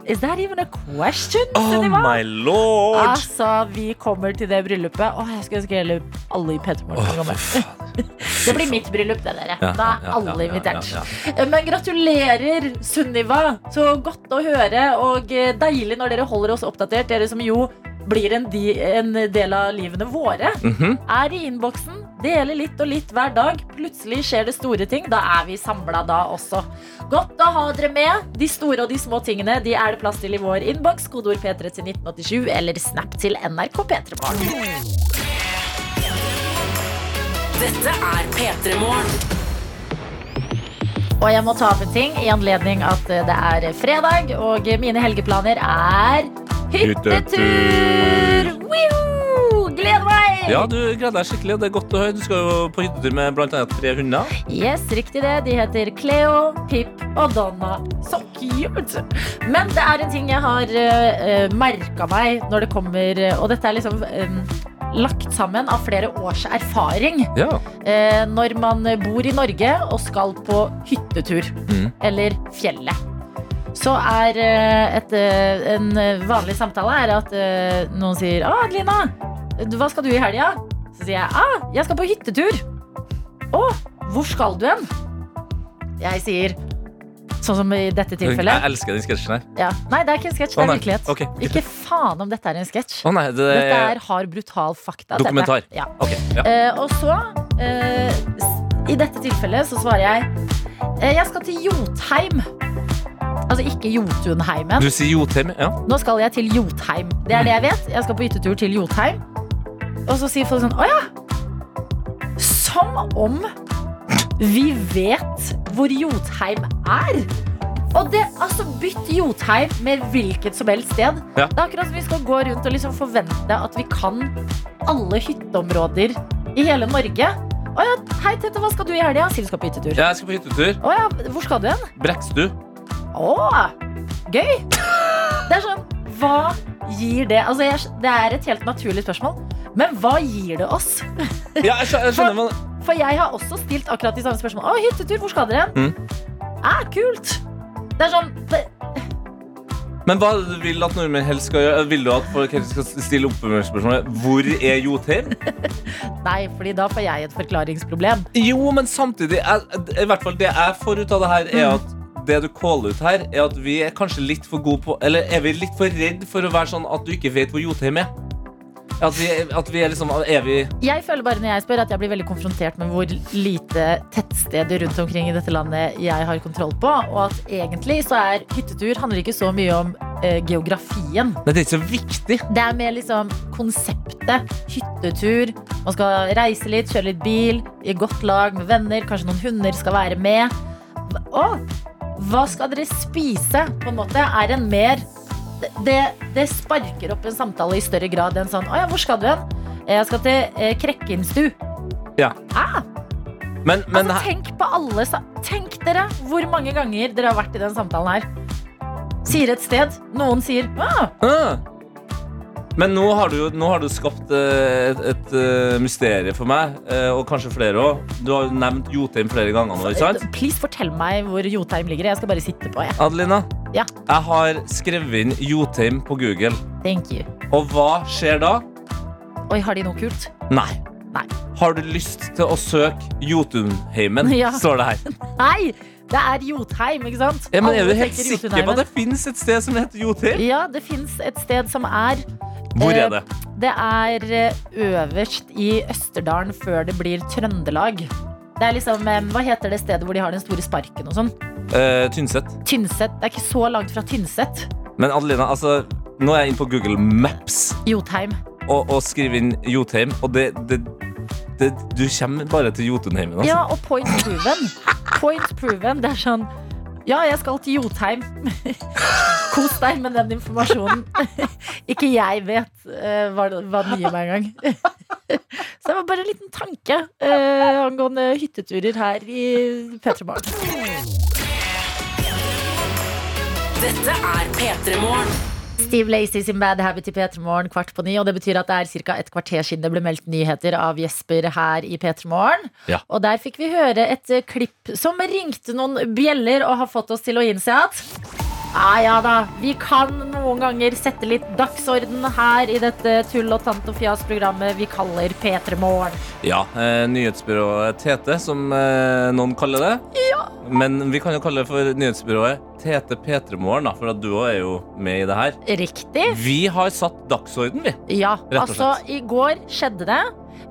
Speaker 1: Is that even a question?
Speaker 3: Oh
Speaker 1: Sunniva?
Speaker 3: my lord!
Speaker 1: Altså, vi kommer til det bryllupet. Åh, jeg skulle ønske hele alle i P3 Morgen kunne komme. Det blir mitt bryllup, det, dere.
Speaker 3: Ja,
Speaker 1: da
Speaker 3: ja,
Speaker 1: er
Speaker 3: ja, ja,
Speaker 1: alle
Speaker 3: ja,
Speaker 1: invitert. Eh,
Speaker 3: ja,
Speaker 1: Men gratulerer, Sunniva. Så godt å høre, og eh, deilig når dere holder oss oppdatert. Dere som jo blir en, di en del av livene våre.
Speaker 3: Mhm.
Speaker 1: Er i innboksen, deler litt og litt hver dag. Plutselig skjer det store ting. Da er vi samla da også. Godt å ha dere med. De store og de små tingene de er det plass til i vår innboks. Kodeord P3 til 1987 eller Snap til NRK P3 Morgen.
Speaker 2: Dette er P3 Morgen.
Speaker 1: Og jeg må ta opp en ting i anledning at eh, det er fredag, og mine helgeplaner er hyttetur! Woo! Gleder meg!
Speaker 3: Ja, du gleder deg skikkelig, og det er godt å høre. Du skal jo på hyttetur med blant annet tre hunder.
Speaker 1: Yes, riktig det. De heter Cleo, Pip og Donna. Så cute! Men det er en ting jeg har uh, merka meg når det kommer Og dette er liksom eh, lagt sammen av flere års erfaring.
Speaker 3: Ja.
Speaker 1: Eh, når man bor i Norge og skal på hyttetur
Speaker 3: Mm.
Speaker 1: eller fjellet. Så er eh, et, eh, en vanlig samtale er at eh, noen sier ah, 'Adelina, hva skal du i helga?' Så sier jeg ah, 'Jeg skal på hyttetur'. 'Å, hvor skal du hen?' Jeg sier sånn som i dette tilfellet.
Speaker 3: Jeg elsker den sketsjen her.
Speaker 1: Ja. Nei, det er ikke en sketsj, det
Speaker 3: Å,
Speaker 1: er
Speaker 3: nei.
Speaker 1: virkelighet.
Speaker 3: Ok.
Speaker 1: Ikke faen om dette er en sketsj.
Speaker 3: Å nei, det
Speaker 1: Dette er hard, brutal fakta. dette.
Speaker 3: Dokumentar.
Speaker 1: Ja.
Speaker 3: Ok, ja.
Speaker 1: Eh, og så, eh, s- i dette tilfellet, så svarer jeg eh, Jeg skal til Jotheim. Altså ikke Jotunheimen.
Speaker 3: Du sier Jotheim, ja?
Speaker 1: Nå skal jeg til Jotheim. Det er det jeg vet. Jeg skal på hyttetur til Jotheim. Og så sier folk sånn Å ja! Som om vi vet hvor Jotheim er! Og det, altså Bytt Jotheim med hvilket som helst sted.
Speaker 3: Ja.
Speaker 1: Det er akkurat som vi skal gå rundt og liksom forvente at vi kan alle hytteområder i hele Norge. Å ja, hei Tete, hva skal du i helga? Sier du skal på hyttetur.
Speaker 3: Ja, Jeg skal på hyttetur.
Speaker 1: Å ja, hvor skal du hen?
Speaker 3: Brekstu.
Speaker 1: Åh, gøy Det er sånn, hva gir det Altså, jeg, det er et helt naturlig spørsmål Men hva gir det oss?
Speaker 3: Ja, jeg skjønner, jeg skjønner hva
Speaker 1: For jeg har også stilt akkurat de samme spørsmål Åh, hyttetur, hvor skal dere hen? Ah, kult Det er sånn, det,
Speaker 3: Men hva er det du vil at nordmenn helst skal gjøre? Vil du at folk helst skal stille opp med spørsmålet Hvor er Jotheim?
Speaker 1: nei, fordi da får jeg et forklaringsproblem
Speaker 3: Jo, men samtidig jeg, I hvert fall det jeg får ut av det her,
Speaker 1: Mm.
Speaker 3: er at det du caller ut her, er at vi er kanskje litt for gode på Eller er vi litt for redd for å være sånn at du ikke vet hvor Jotheim er? At vi, at vi er liksom Er vi
Speaker 1: Jeg føler bare når jeg spør at jeg blir veldig konfrontert med hvor lite tettsteder rundt omkring i dette landet jeg har kontroll på, og at egentlig så er hyttetur handler ikke så mye om eh, geografien.
Speaker 3: Nei, det er ikke så viktig.
Speaker 1: Det er mer liksom konseptet. Hyttetur. Man skal reise litt, kjøre litt bil, i godt lag med venner. Kanskje noen hunder skal være med. Hva- Å, hva skal dere spise? På en måte er en mer det, det sparker opp en samtale i større grad enn sånn Å ja, hvor skal du hen? Jeg skal til eh, Krekkenstu. Ah,
Speaker 3: Men, men
Speaker 1: Altså, tenk på alle sa- Tenk dere hvor mange ganger dere har vært i den samtalen her. Sier et sted. Noen sier ah,
Speaker 3: Ah. Men nå har du jo nå har du skapt eh, et, et eh, mysterium for meg, eh, og kanskje flere òg. Du har jo nevnt Jotheim flere ganger nå, ikke sant?
Speaker 1: Please fortell meg hvor Jotheim ligger. Jeg skal bare sitte på. Jeg.
Speaker 3: Adelina,
Speaker 1: Ja.
Speaker 3: jeg har skrevet inn Jotheim på Google.
Speaker 1: Thank you.
Speaker 3: Og hva skjer da?
Speaker 1: Oi, har de noe kult?
Speaker 3: Nei.
Speaker 1: Nei.
Speaker 3: Har du lyst til å søke Jotunheimen?
Speaker 1: Ja.
Speaker 3: Står det her.
Speaker 1: Nei! Det er Jotheim, ikke sant?
Speaker 3: Ja, men er
Speaker 1: Alle
Speaker 3: du helt
Speaker 1: tenker
Speaker 3: sikker på
Speaker 1: Jotunheimen.
Speaker 3: at det fins et sted som heter Jotheim?
Speaker 1: Ja, det fins et sted som er
Speaker 3: Hvor
Speaker 1: Eh,
Speaker 3: er det?
Speaker 1: Det er eh, øverst i Østerdalen før det blir Trøndelag. Det er liksom, eh, Hva heter det stedet hvor de har den store sparken og sånn?
Speaker 3: Eh, Tynset.
Speaker 1: Tynset. Det er ikke så langt fra Tynset.
Speaker 3: Men Adelina, altså, nå er jeg inne på Google Maps
Speaker 1: Jotheim.
Speaker 3: og, og skriver inn Jotheim, og det, det, det Du kommer bare til Jotunheimen, altså.
Speaker 1: Ja, og point proven. Point proven. Det er sånn Ja, jeg skal til Jotheim. Kos deg med den informasjonen. Ikke jeg vet eh, hva, hva den gir meg engang. Så det var bare en liten tanke eh, angående hytteturer her i P3 Morgen.
Speaker 2: Dette er P3 Morgen.
Speaker 1: Steve Lacey sin Bad Habit i P3 Morgen kvart på ni. Og det betyr at det er ca. et kvarter siden det ble meldt nyheter av Jesper her i P3 Morgen.
Speaker 5: Ja.
Speaker 1: Og der fikk vi høre et eh, klipp som ringte noen bjeller og har fått oss til å innse at Ja, ja da. Vi kan noen ganger sette litt dagsorden her i dette tull og tant og fjas-programmet vi kaller P3 Morgen.
Speaker 3: Ja, eh, nyhetsbyrået Tete, som eh, noen kaller det. Men vi kan jo kalle det for nyhetsbyrået Tete P3morgen, da, for at du òg er jo med i det her.
Speaker 1: Riktig.
Speaker 3: Vi har satt dagsorden, vi.
Speaker 1: Ja,
Speaker 3: Rett og
Speaker 1: altså
Speaker 3: slett.
Speaker 1: i går skjedde det.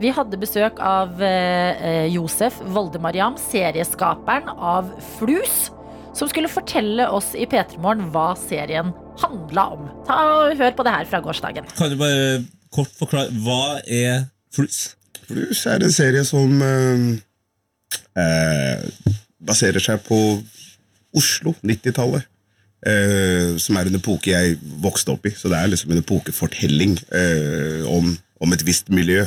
Speaker 1: Vi hadde besøk av eh, eh, Josef Voldemariam, serieskaperen av Flus, som skulle fortelle oss i P3morgen hva serien handla om. Ta og Hør på det her fra gårsdagen.
Speaker 7: Kan du bare kort forklare Hva er flus?
Speaker 8: Blues er en serie som eh, eh, baserer seg på Oslo, 90-tallet. eh, som er en epoke jeg vokste opp i. Så det er liksom en epokefortelling eh, om, om et visst miljø.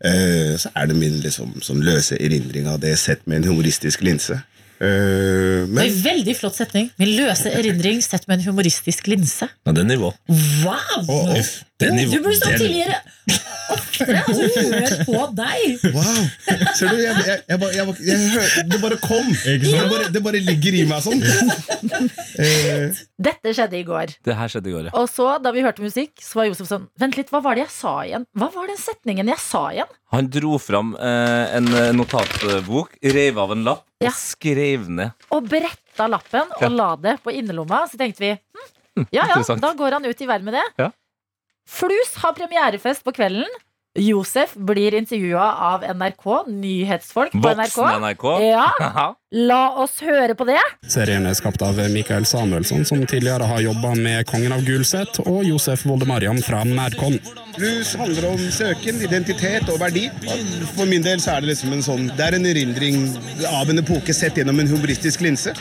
Speaker 8: Eh, så er det min liksom, sånn løse erindring av det sett med en humoristisk linse. Eh, men
Speaker 1: veldig flott setning. Min løse erindring sett med en humoristisk linse.
Speaker 7: Ja, det er nivå.
Speaker 1: Wow!
Speaker 8: Å, å,
Speaker 7: Det er nivå. det er nivå.
Speaker 1: oftere. Altså, hør på deg!
Speaker 8: Wow! Ser du, jeg, jeg, jeg, bare- jeg, bare- jeg, hører- det bare kom! Det bare, det bare ligger i meg sånn. Eh,
Speaker 1: Dette skjedde i går.
Speaker 3: Det her skjedde i går, ja.
Speaker 1: Og så, da vi hørte musikk, så var Josef sånn Vent litt, hva var det jeg sa igjen? Hva var den setningen jeg sa igjen?
Speaker 3: Han dro fram eh, en eh, notatbok, reiv av en lapp
Speaker 1: Ja.
Speaker 3: og skrev ned.
Speaker 1: og bretta lappen
Speaker 3: Ja.
Speaker 1: og la det på innerlomma. Så tenkte vi hm, ja ja,
Speaker 3: interessant.
Speaker 1: da går han ut i verden med det.
Speaker 3: Ja.
Speaker 1: Flus har premierefest på kvelden. Josef blir intervjua av NRK, nyhetsfolk på NRK.
Speaker 3: Voksen NRK.
Speaker 1: Ja,
Speaker 3: Haha.
Speaker 1: la oss høre på det.
Speaker 9: Serien er skapt av Mikael Samuelsson, som tidligere har jobba med Kongen av Gulset og Josef Voldemarian fra Madcon.
Speaker 8: Rus handler om søken, identitet og verdi. For min del så er det liksom en sånn Det er en erindring av en epoke sett gjennom en humoristisk linse.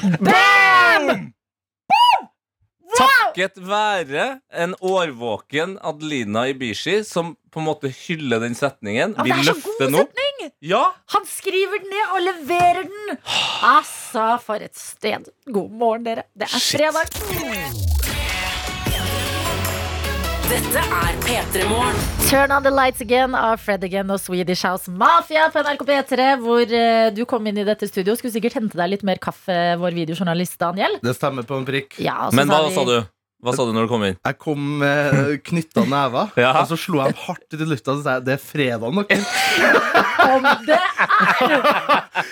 Speaker 3: Takket være en årvåken Adelina Ibishi, som på en måte hyller den setningen.
Speaker 1: Ja,
Speaker 3: Vi
Speaker 1: det er så
Speaker 3: løfter
Speaker 1: god
Speaker 3: den opp.
Speaker 1: setning!
Speaker 3: Ja,
Speaker 1: Han skriver den ned og leverer den.
Speaker 3: Ah.
Speaker 1: Altså, for et sted. God morgen, dere. Det er fredag.
Speaker 2: Dette er P3 Morgen.
Speaker 1: Turn on the lights again av Fred again og Swedish House Mafia på NRK P3, hvor eh, du kom inn i dette studio. Skulle sikkert hente deg litt mer kaffe, vår videojournalist Daniel.
Speaker 10: Det stemmer på en prikk.
Speaker 1: Ja, og så
Speaker 3: Men hva
Speaker 1: vi-
Speaker 3: sa du? Hva sa du når du kom inn?
Speaker 10: Jeg kom med knytta never,
Speaker 3: Ja.
Speaker 10: og så slo jeg dem hardt ut i lufta og så sa jeg, det er fredag nok.
Speaker 1: Om det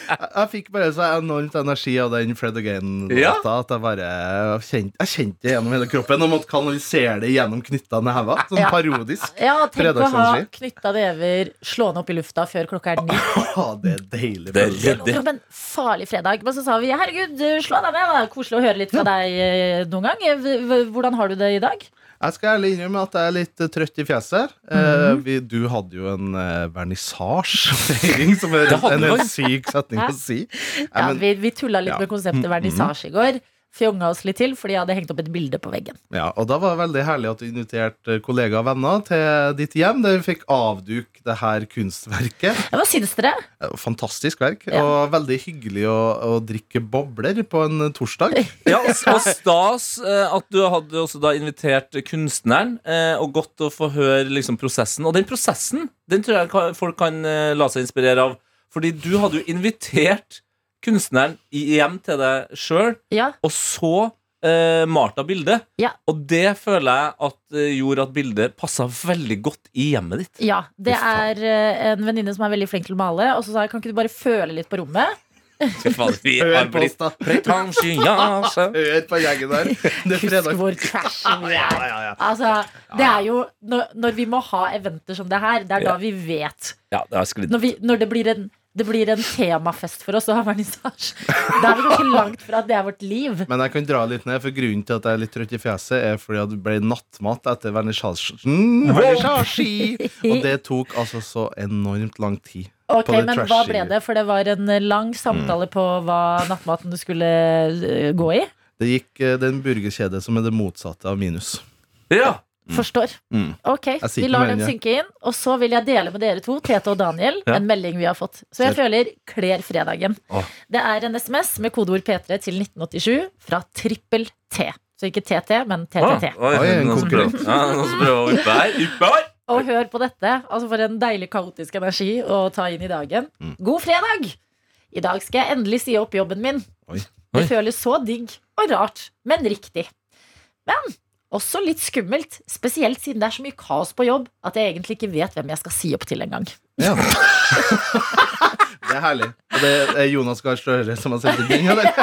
Speaker 10: Jeg fikk bare så enormt energi av den Fred Again-låta
Speaker 3: Ja.
Speaker 10: at jeg bare jeg kjente, jeg kjente det gjennom hele kroppen og måtte kanalisere det gjennom knytta never. Sånn
Speaker 1: Ja.
Speaker 10: parodisk.
Speaker 1: Ja, tenk å ha
Speaker 10: Fredagsenergi.
Speaker 1: knytta never, slående opp i lufta før klokka er ni.
Speaker 10: Å, det er deilig.
Speaker 3: Det,
Speaker 10: følelse.
Speaker 3: det, Ah, det,
Speaker 1: Jo, men farlig fredag. Men så sa vi herregud, eh, slå deg ned, da. Koselig å høre litt fra deg eh, noen gang. Eh, v- v- Hvordan har du det i dag?
Speaker 10: Jeg skal ærlig innrømme at jeg er litt eh, trøtt i fjeset. Eh,
Speaker 1: Mhm.
Speaker 10: vi, du hadde jo en eh, vernissasjefeiring, som er
Speaker 3: Det hadde
Speaker 10: en
Speaker 3: du.
Speaker 10: helt syk setning
Speaker 1: Hæ?
Speaker 10: å si. Nei,
Speaker 1: Ja,
Speaker 10: men-
Speaker 1: vi, vi tulla litt
Speaker 10: ja.
Speaker 1: med konseptet
Speaker 3: Mm,
Speaker 1: vernissasje i går. Fjonga oss litt til fordi jeg hadde hengt opp et bilde på veggen.
Speaker 10: Ja, og da var det veldig herlig at du inviterte kollegaer og venner til ditt hjem, der vi fikk avduke det her kunstverket.
Speaker 1: Hva syns dere?
Speaker 10: Fantastisk verk,
Speaker 1: Ja.
Speaker 10: og veldig hyggelig å, å drikke bobler på en torsdag.
Speaker 3: Ja, og og stas eh, at du hadde også da invitert kunstneren, eh, og godt å få høre liksom prosessen. Og den prosessen den tror jeg ka- folk kan eh, la seg inspirere av. Fordi du hadde jo invitert kunstneren i- hjem til deg sjøl,
Speaker 1: Ja,
Speaker 3: og så eh, Martha bildet.
Speaker 1: Ja.
Speaker 3: Og det føler jeg at eh, gjorde at bildet passa veldig godt i hjemmet ditt.
Speaker 1: Ja, det er eh, en venninne som er veldig flink til å male. Og så sa jeg, kan ikke du bare føle litt på rommet?
Speaker 3: Fy faen, vi har
Speaker 10: Hør på oss,
Speaker 3: blitt
Speaker 10: da.
Speaker 3: pretensiøse.
Speaker 10: Hør på gjengen der. Det er
Speaker 1: Husk
Speaker 10: fredag.
Speaker 1: hvor trashy vi
Speaker 10: Ja,
Speaker 1: er.
Speaker 10: ja, ja.
Speaker 1: Altså, det er jo når, når vi må ha eventer som det her, det er da
Speaker 3: Ja.
Speaker 1: vi vet.
Speaker 3: Ja, det har sklidd.
Speaker 1: Når, vi, når det blir en det blir en temafest for oss å ha vernissasje. Da er vi ganske langt fra at det er vårt liv.
Speaker 10: Men jeg kan dra litt ned, for grunnen til at jeg er litt trøtt i fjeset, er fordi at det ble nattmat etter vernissasjen. Vernissasje! Og det tok altså så enormt lang tid.
Speaker 1: Ok,
Speaker 10: På det
Speaker 1: Men hva
Speaker 10: trashy-
Speaker 1: ble det? For det var en eh, lang samtale på hva nattmaten du skulle eh, gå i.
Speaker 10: Det gikk eh, det er en burgerkjede som er det motsatte av minus.
Speaker 3: Ja.
Speaker 1: Forstår.
Speaker 10: Mm.
Speaker 1: Ok,
Speaker 10: sitter
Speaker 1: Vi lar
Speaker 10: med
Speaker 1: den
Speaker 10: den, ja.
Speaker 1: synke inn. Og så vil jeg dele med dere to, Tete og Daniel,
Speaker 3: Ja.
Speaker 1: en melding vi har fått. Så jeg
Speaker 10: Kjør.
Speaker 1: føler kler fredagen.
Speaker 3: Åh.
Speaker 1: Det er en SMS med kodeord P3 til 1987 fra trippel T. Så ikke TT, men TTT.
Speaker 3: Oi,
Speaker 10: Oi, en
Speaker 3: noen som prøver-
Speaker 10: konkurrent.
Speaker 3: Ja, noen som prøver å oppe her. Oppe her.
Speaker 1: Og hør på dette. Altså For en deilig kaotisk energi å ta inn i dagen.
Speaker 10: Mm.
Speaker 1: God fredag! I dag skal jeg endelig si opp jobben min.
Speaker 10: Oi.
Speaker 1: Det
Speaker 3: Oi.
Speaker 1: føles så digg og rart, men riktig. Men også litt skummelt, spesielt siden det er så mye kaos på jobb at jeg egentlig ikke vet hvem jeg skal si opp til engang.
Speaker 10: Ja. det er herlig. Og det er Jonas Gahr Støre som har sett den. Ja, det.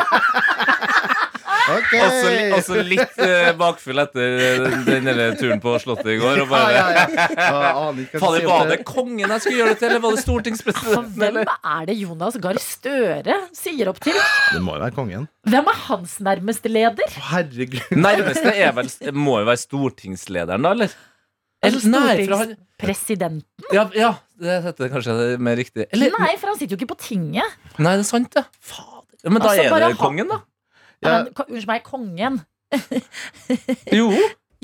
Speaker 10: Ok.
Speaker 3: Også, Altså li- også litt eh, bakfull etter eh, den hele turen på Slottet i går. Og
Speaker 10: Ja,
Speaker 3: bare
Speaker 10: ja, ja. Jeg aner ikke hva
Speaker 3: Fader,
Speaker 10: jeg skal si om
Speaker 3: var det kongen jeg skulle gjøre det til, eller var
Speaker 1: For
Speaker 3: det stortingspresidenten?
Speaker 1: hvem
Speaker 3: Eller?
Speaker 1: er det Jonas Gahr Støre sier opp til?
Speaker 10: Det må jo være kongen.
Speaker 1: Hvem er hans nærmeste leder?
Speaker 10: Å, Herregud.
Speaker 3: Nærmeste er vel, må jo være stortingslederen, da, eller?
Speaker 1: Altså,
Speaker 3: Eller- nei, for han-
Speaker 1: Stortingspresident?
Speaker 3: ja, ja, det heter kanskje mer riktig. Eller,
Speaker 1: Nei, for han sitter jo ikke på tinget.
Speaker 3: nei, det er sant, ja. Fader. Ja, Men da
Speaker 1: Altså,
Speaker 3: er
Speaker 1: bare
Speaker 3: det
Speaker 1: ha-
Speaker 3: kongen, da.
Speaker 10: Ja.
Speaker 1: Men, ko- unnskyld meg, kongen.
Speaker 3: Jo,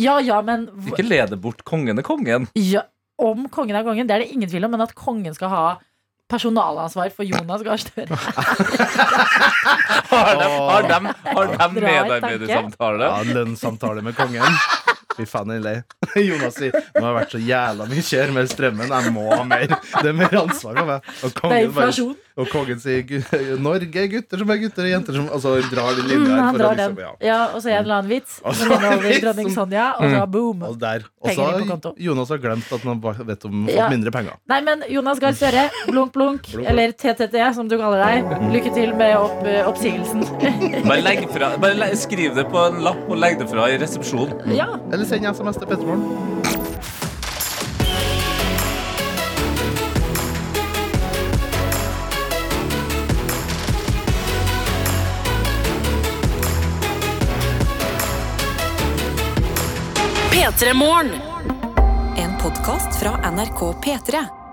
Speaker 1: Ja ja, men hv-
Speaker 3: ikke lede bort kongen er kongen.
Speaker 1: ja, Om kongen er kongen, det er det ingen tvil om, men at kongen skal ha personalansvar for Jonas Gahr Støre
Speaker 3: Har de, har de, har de
Speaker 1: Bra tanke.
Speaker 3: medarbeidersamtale?
Speaker 10: Ja, lønnssamtale med kongen. Fy faen, jeg er lei. Jonas sier nå har jeg vært så jævla mye kjør med strømmen. Jeg må ha mer. Det er mer ansvar for meg. Og
Speaker 1: Det er
Speaker 10: kongen, bare,
Speaker 1: inflasjon.
Speaker 10: og kongen sier "Gu- Norge er gutter som er gutter, og jenter som Altså han drar den
Speaker 1: Mm,
Speaker 10: linja her.
Speaker 1: han
Speaker 10: For å
Speaker 1: drar den.
Speaker 10: liksom, ja.
Speaker 1: Ja, og så en eller annen vits.
Speaker 10: Og så
Speaker 1: Som inneholder
Speaker 10: vits. Mm.
Speaker 1: dronning Sonja, og så boom.
Speaker 10: Og der. Og
Speaker 1: Penger
Speaker 10: så
Speaker 1: inn på konto.
Speaker 10: har Jonas har glemt at han bare vet om fått
Speaker 1: Ja.
Speaker 10: mindre penger.
Speaker 1: Nei, men Jonas Gahr Støre, blunk, blunk, eller TTT, som du kaller deg. Lykke til med opp, eh, oppsigelsen.
Speaker 3: Bare, legg fra, bare le- skriv det på en lapp og legg det fra i resepsjonen.
Speaker 1: ja.
Speaker 10: Eller send SMS til Pettermoren.
Speaker 2: P3 Morgen.
Speaker 11: En podkast fra NRK P3.